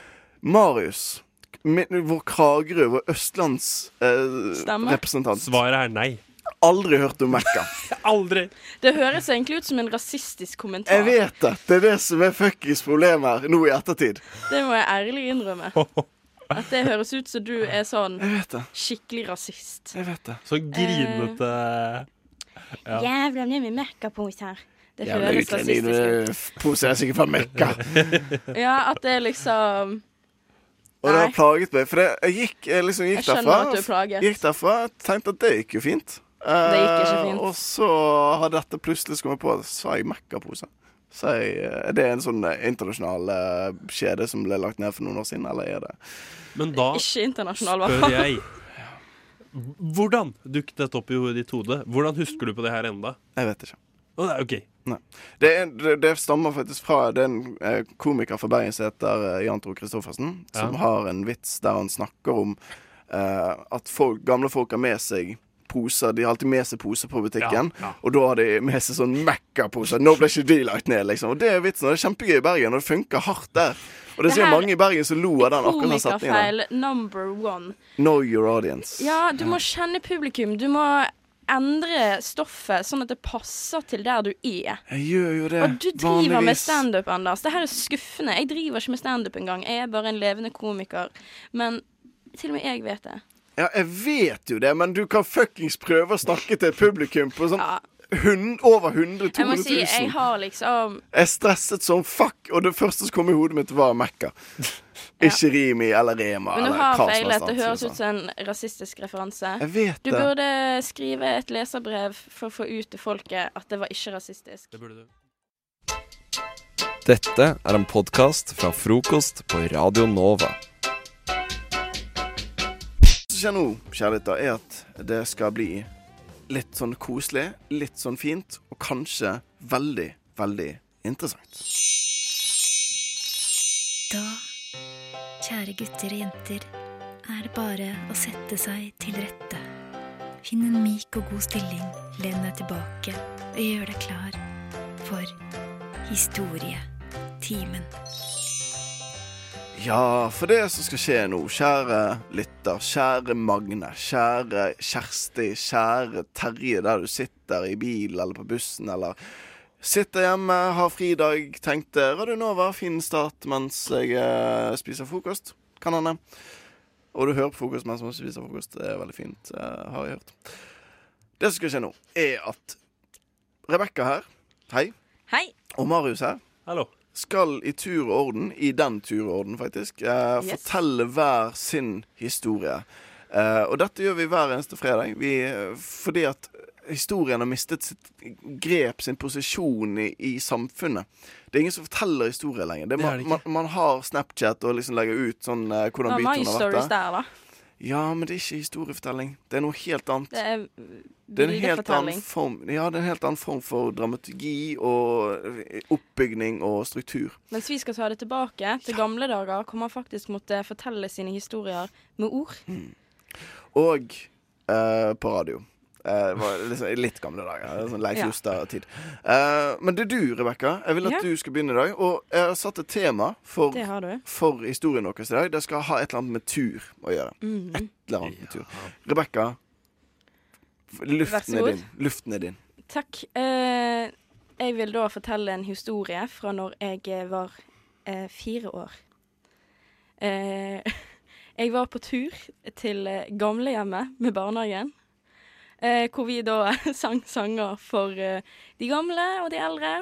Marius, min, vår Kragerø, vår Stemmer. østlandsrepresentant. Svaret er nei. Aldri hørt om Mekka. Aldri. Det høres egentlig ut som en rasistisk kommentar. Jeg vet det. Det er det som er fuckings problemet her nå i ettertid. Det må jeg ærlig innrømme. At det høres ut som du er sånn skikkelig rasist. Jeg vet det. Så grinete ja. Jævla mye med mekkaposer. Eh, Det Jævla høres rasistisk utlending, du poser jeg sikkert fra Mekka. Ja, at det er liksom Og det har plaget meg. For det, jeg gikk, jeg liksom gikk Jeg skjønner derfra. at du er plaget. Gikk derfra Tenkte at det gikk jo fint. Det gikk ikke fint. Eh, og så har dette plutselig så kom jeg på at sa jeg Mekka-pose? Sa jeg, eh, Det er en sånn eh, internasjonal eh, kjede som ble lagt ned for noen år siden, eller er det Men da ikke internasjonal, hva spør jeg Hvordan dukket dette opp i hodet ditt hode? Hvordan husker du på det her enda? Jeg vet ikke. Å, det er ok. Nei. Det, er, det, det stammer faktisk fra Det er en eh, komiker fra Bergen som heter eh, Jan Tore Christoffersen, som Ja. har en vits der han snakker om eh, at folk, gamle folk har med seg poser. De har alltid med seg poser på butikken, Ja, ja. og da har de med seg sånn Mekka-poser. Nå ble ikke de lagt ned, liksom. Og det er vitsen, og det er kjempegøy i Bergen, og det funker hardt der. Og det, Det sier her- mange i Bergen som lo av den akkurat den setningen. Komikerfeil number one. der. Know your audience. Ja, du må kjenne publikum. Du må endre stoffet sånn at det passer til der du er. Jeg gjør jo det. Og du driver med vanligvis. standup, Anders. Det her er skuffende. Jeg driver ikke med standup engang. Jeg er bare en levende komiker. Men til og med jeg vet det. Ja, jeg vet jo det, men du kan fuckings prøve å snakke til publikum på sånn hund, over 100 Jeg må 000-200 si, 000. jeg har liksom Jeg stresset som fuck, og det første som kom i hodet mitt, var Mekka. Ikke Rimi eller Rema. Men du eller har hva som helst feilet. Det annet, høres sier ut som en rasistisk referanse. altså, Jeg vet du det. burde skrive et leserbrev for å få ut til folket at det var ikke rasistisk. Det burde du. Dette er en podkast fra frokost på Radio Nova. Det som altså. skjer nå, kjærligheter, er at det skal bli litt sånn koselig, litt sånn fint, og kanskje veldig, veldig interessant. Da, kjære gutter og jenter, er det bare å sette seg til rette. Finn en myk og god stilling, len deg tilbake og gjør deg klar for historietimen. Ja, for det som skal skje nå, kjære lytter, kjære Magne, kjære Kjersti, kjære Terje, der du sitter i bilen eller på bussen eller Sitter hjemme, har fridag, tenkte Radio Nova, fin start mens jeg eh, spiser frokost. Kan hende. Og du hører på frokost mens man spiser frokost. Det er veldig fint, eh, har jeg hørt. Det som skal skje nå, er at Rebekka her, hei. Hei. Og Marius her. Skal i tur og orden, i den tur og orden faktisk, eh, Yes. fortelle hver sin historie. Eh, og dette gjør vi hver eneste fredag, vi, eh, fordi at historien har mistet sitt grep, sin posisjon i, i samfunnet. Det er ingen som forteller historier lenger. Det, Det er det man, man, man har Snapchat og liksom legger ut sånn eh, Nå, hvordan my byturen har stories vært. der. der, da. Ja, men det er ikke historiefortelling. Det er noe helt annet. Det er Det er en helt annen bildefortelling. form Ja, det er en helt annen form for dramaturgi og oppbygning og struktur. Mens vi skal ta det tilbake til gamle dager, hvor man faktisk måtte fortelle sine historier med ord. Hmm. Og eh, på radio. Eh, det var liksom, i litt gamle dager. Sånn Leif Ja. Justad-tid. Eh, men det er du, Rebekka. Jeg vil at Ja. du skal begynne i dag. Og jeg har satt et tema for, Det har du. for historien vår i dag. Det skal ha et eller annet med tur å gjøre. Mhm. Et eller annet med tur. Rebekka, f- Vær så luften er god. din. Luften er din. Takk. Eh, jeg vil da fortelle en historie fra når jeg var eh, fire år. Eh, jeg var på tur til eh, gamlehjemmet med barnehagen. Eh, hvor vi da sang sanger for eh, de gamle og de eldre.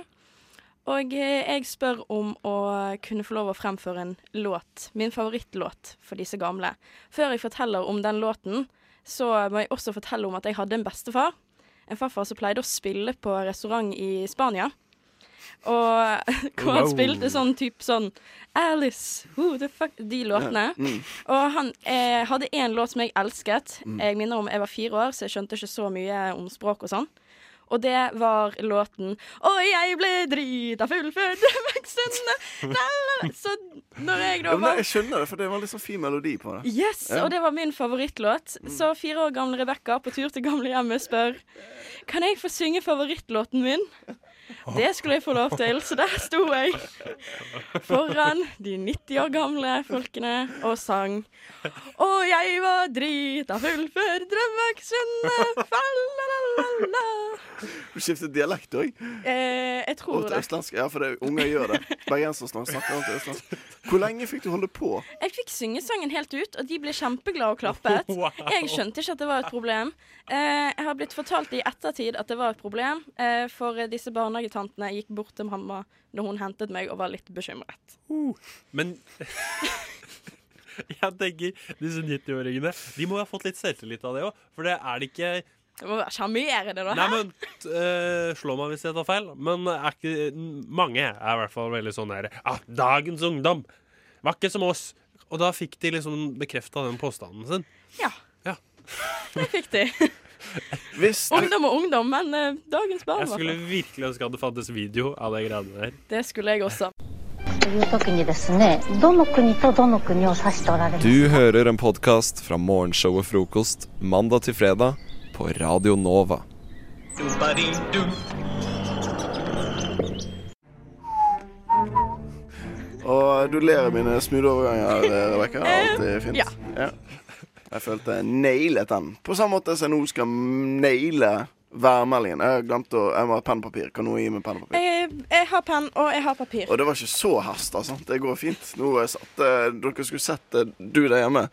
Og eh, jeg spør om å kunne få lov å fremføre en låt, min favorittlåt for disse gamle. Før jeg forteller om den låten, så må jeg også fortelle om at jeg hadde en bestefar. En farfar som pleide å spille på restaurant i Spania. Og hvor han Wow. spilte sånn type sånn Alice, who the fuck De låtene. Ja, mm. Og han eh, hadde én låt som jeg elsket. Mm. Jeg minner om jeg var fire år, så jeg skjønte ikke så mye om språk og sånn. Og det var låten 'Og jeg ble drita full før veksten'. Så når jeg Ja, da men var jeg skjønner det, for det er en veldig sånn fin melodi på det. Yes, Ja. Mm. og det var min favorittlåt. Så fire år gamle Rebekka på tur til gamlehjemmet spør Kan jeg få synge favorittlåten min. Det skulle jeg få lov til, så der sto jeg foran de 90 år gamle folkene og sang. Og jeg var drita full før drømmeksene falla-la-la-la. Du skiftet dialekt òg. Eh, jeg tror til det. østlandsk. Ja, for det er unger gjør det. Bergensere snakker snakker om til østlandsk. Hvor lenge fikk du holde på? Jeg fikk synge sangen helt ut, og de ble kjempeglade og klappet. Wow. Jeg skjønte ikke at det var et problem. Eh, jeg har blitt fortalt i ettertid at det var et problem, eh, for disse barnehagetantene gikk bort til mamma når hun hentet meg og var litt bekymret. Men jeg tenker disse 90-åringene De må ha fått litt selvtillit av det òg, for det er det ikke Det må være sjarmerende, da. Nei, hæ? men t- eh, Slå meg hvis jeg tar feil, men er ikke, n- mange er i hvert fall veldig sånn der ah, 'Dagens ungdom var ikke som oss'. Og da fikk de liksom bekrefta den påstanden sin. Det fikk de. Hvis Ungdom og ungdom, men eh, dagens barn Jeg var skulle virkelig ønske at det fantes video av de greiene der. Det skulle jeg også. という時にですねどの国とどの国を指しておられます Du hører en podkast fra morgenshowet Frokost mandag til fredag på Radio Nova. Og du ler av mine smoothe overganger, Rebekka. Alt er fint. Eh, ja. Jeg følte jeg nailet den. På samme måte som jeg nå skal naile værmeldingen. Jeg har glemt å Jeg må ha pennpapir. Kan noen gi meg pennpapir? Jeg, jeg har penn, og jeg har papir. Og det var ikke så hast, altså. Det går fint. Nå satt, eh, dere skulle sett eh, du der hjemme.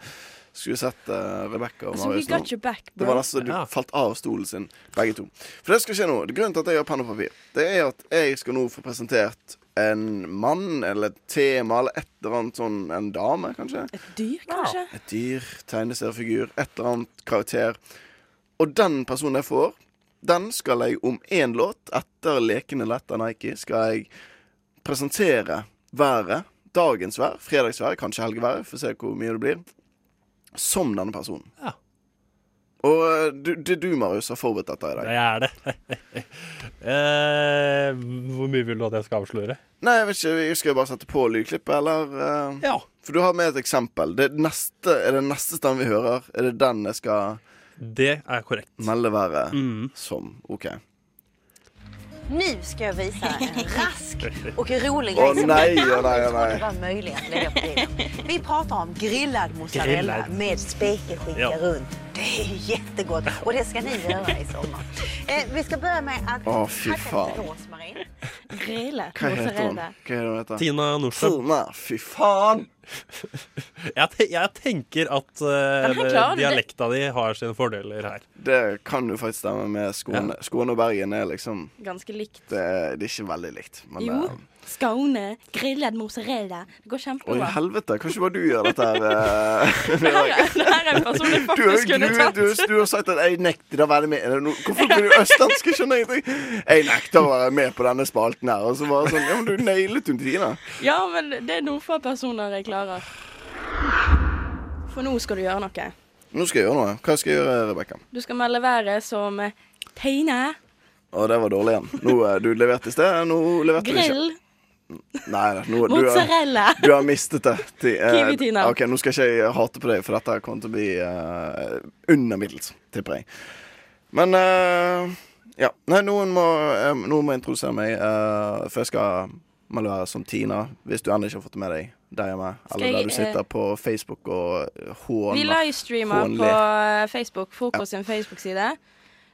Skulle sett uh, Rebekka og Altså, we Marius got your back, bro. Det var nesten så du Ja. falt av stolen sin, begge to. For det skal skje nå. Grunnen til at jeg har penn og papir, det er at jeg skal nå få presentert en mann, eller et tema, eller et eller annet sånn En dame, kanskje? Dyr, kanskje? Et dyr, tegneseriefigur, et eller annet karakter. Og den personen jeg får, den skal jeg om én låt etter Lekene lett av Nike skal jeg presentere været, dagens vær, fredagsvær, kanskje helgeværet, for å se hvor mye det blir, som denne personen. Og eh, du, det du, Marius, har forberedt dette i dag. Det er det. Eh, hvor mye vil du at jeg skal avsløre? Nei, jeg vet ikke, jeg skal jeg bare sette på lydklippet, eller? eh? For du har med et eksempel. Det neste, er det neste stemmen vi hører, er det den jeg skal Det er korrekt. melde været som? OK. Nu ska jag visa en rask och rolig Åh, grej som nej, jag åh, nej, aldrig trodde åh, nej. var möjlig att lägga på degen. Vi pratar om grillad mozzarella Grillad. med spekeskinka Ja. runt. Det är ju jättegott och det ska ni göra i sommar. Eh, vi ska börja med att Åh, fy hacka lite fan. rosmarin. Hva heter hun? Hva heter hun heter? Tina Nordstrøm. Tina, fy faen! Jeg, te jeg tenker at eh, Den her klarer du. dialekta di har sine fordeler her. Det kan jo faktisk stemme med Skåne. Skåne og Bergen er liksom Ganske likt. Det, er- det er ikke veldig likt. Men Jo. eh, Skaune, grillad mozzarella. Det går Oi, kjempebra. helvete. Kan ikke bare du gjøre dette her? eh, Mira? Det her er en person jeg Du, har- faktisk du, kunne tatt. du, du har sagt at jeg nekter å være med. Er det noe- Hvorfor blir du østlandsk? Jeg skjønner ingenting. Jeg nekter å være med på denne spalten her. Og så bare sånn Ja, men du nailet hun Tina. Ja, men det er noen få personer jeg klarer. For nå skal du gjøre noe. Nå skal jeg gjøre noe. Hva skal jeg gjøre, Rebekka? Du skal melde været som eh, tegne, Å, det var dårlig igjen. Nå, eh, du leverte i sted. Nå leverte du ikke. grill, Nei, nei, nå, du er mozzarella. Du har mistet det. Ti- eh, Kiwi-Tina. Ok, Nå skal ikke jeg hate på deg, for dette kommer til å bli eh, under middels, tipper jeg. Men eh, ja. Nei, noen må, eh, noen må introdusere meg, eh, for jeg skal melde være som Tina, hvis du ennå ikke har fått det med deg der hjemme. Skal Eller jeg, der du sitter eh, på Facebook og eh, håner. Vi livestreamer på eh, hånler. Facebook, Frokost sin Facebook-side.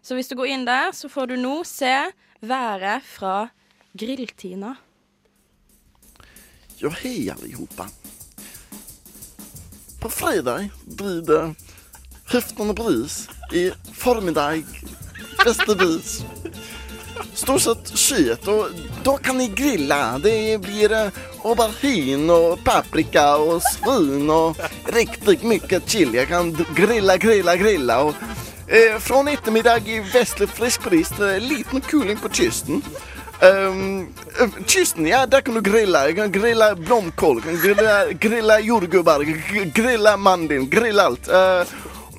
Så hvis du går inn der, så får du nå se været fra Grill-Tina. Ja, hej allihopa. På fredag blir det skiftande bris i förmiddag, västervis. Stort sett skyet och då kan ni grilla. Det blir eh, aubergine och paprika och svin och riktigt mycket chili. Jag kan d- grilla, grilla, grilla. Och, eh, från eftermiddag i västlig friskbrist, eh, liten kuling på kysten. Ehm, eh, kysten, ja, där kan du grilla. Jag kan grilla blomkål, jag kan grilla, grilla jordgubbar, gr- grilla mandel, grilla allt. Eh,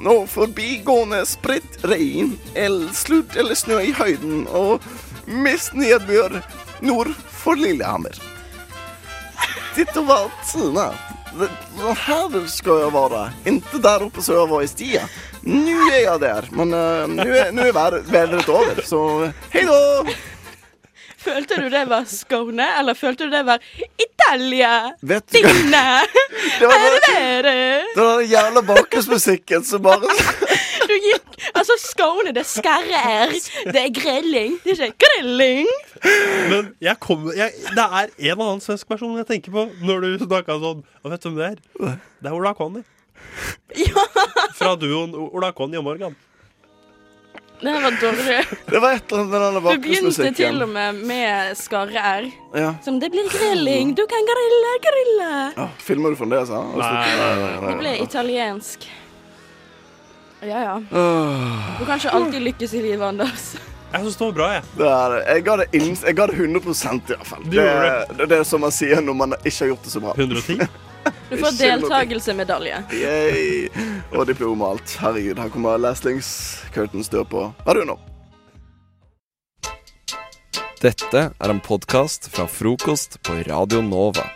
och förbigående spritt regn, eller slut eller snö i höjden och mest nedbör norr för Lillehammer. Titta vad Tina, det, det här ska jag vara. Inte där uppe som jag var i Stia. Nu är jag där, men eh, nu är, nu är vär- vädret över. Så hej då! Følte du det var Skåne, eller følte du det var Italia? Vet du hva? Tine! Det var Er bare det det? Det var den jævla bakgrunnsmusikken som bare Du gikk Altså, Skåne, det er skarrer. Det er grilling. Det er ikke grilling. Men jeg kommer, jeg, det er en annen svensk person jeg tenker på når du snakka sånn. Og vet du hvem det er? Det er Ola Conny. Fra duoen O- Ola Conny og Morgan. Det her var dårlig. Det var et eller annet med denne Du begynte bakgrunnsmusikken. til og med med skarrer. Ja. Som det blir grilling. Du kan grille, grille. Åh, Filmer du fremdeles, det, Nei, Det ble italiensk. Ja, ja. Du kan ikke alltid lykkes i livet, Anders. Jeg syns det var bra, jeg. er, jeg, ga det inns- jeg ga det 100 i hvert fall. Du Det, gjorde det, det er som man sier når man ikke har gjort det så bra. 110? Du får deltakelsemedalje. Yay. Og diplom og alt. Herregud, her kommer Lastings. Curtains dør på radioen nå. Dette er en podkast fra frokost på Radio Nova.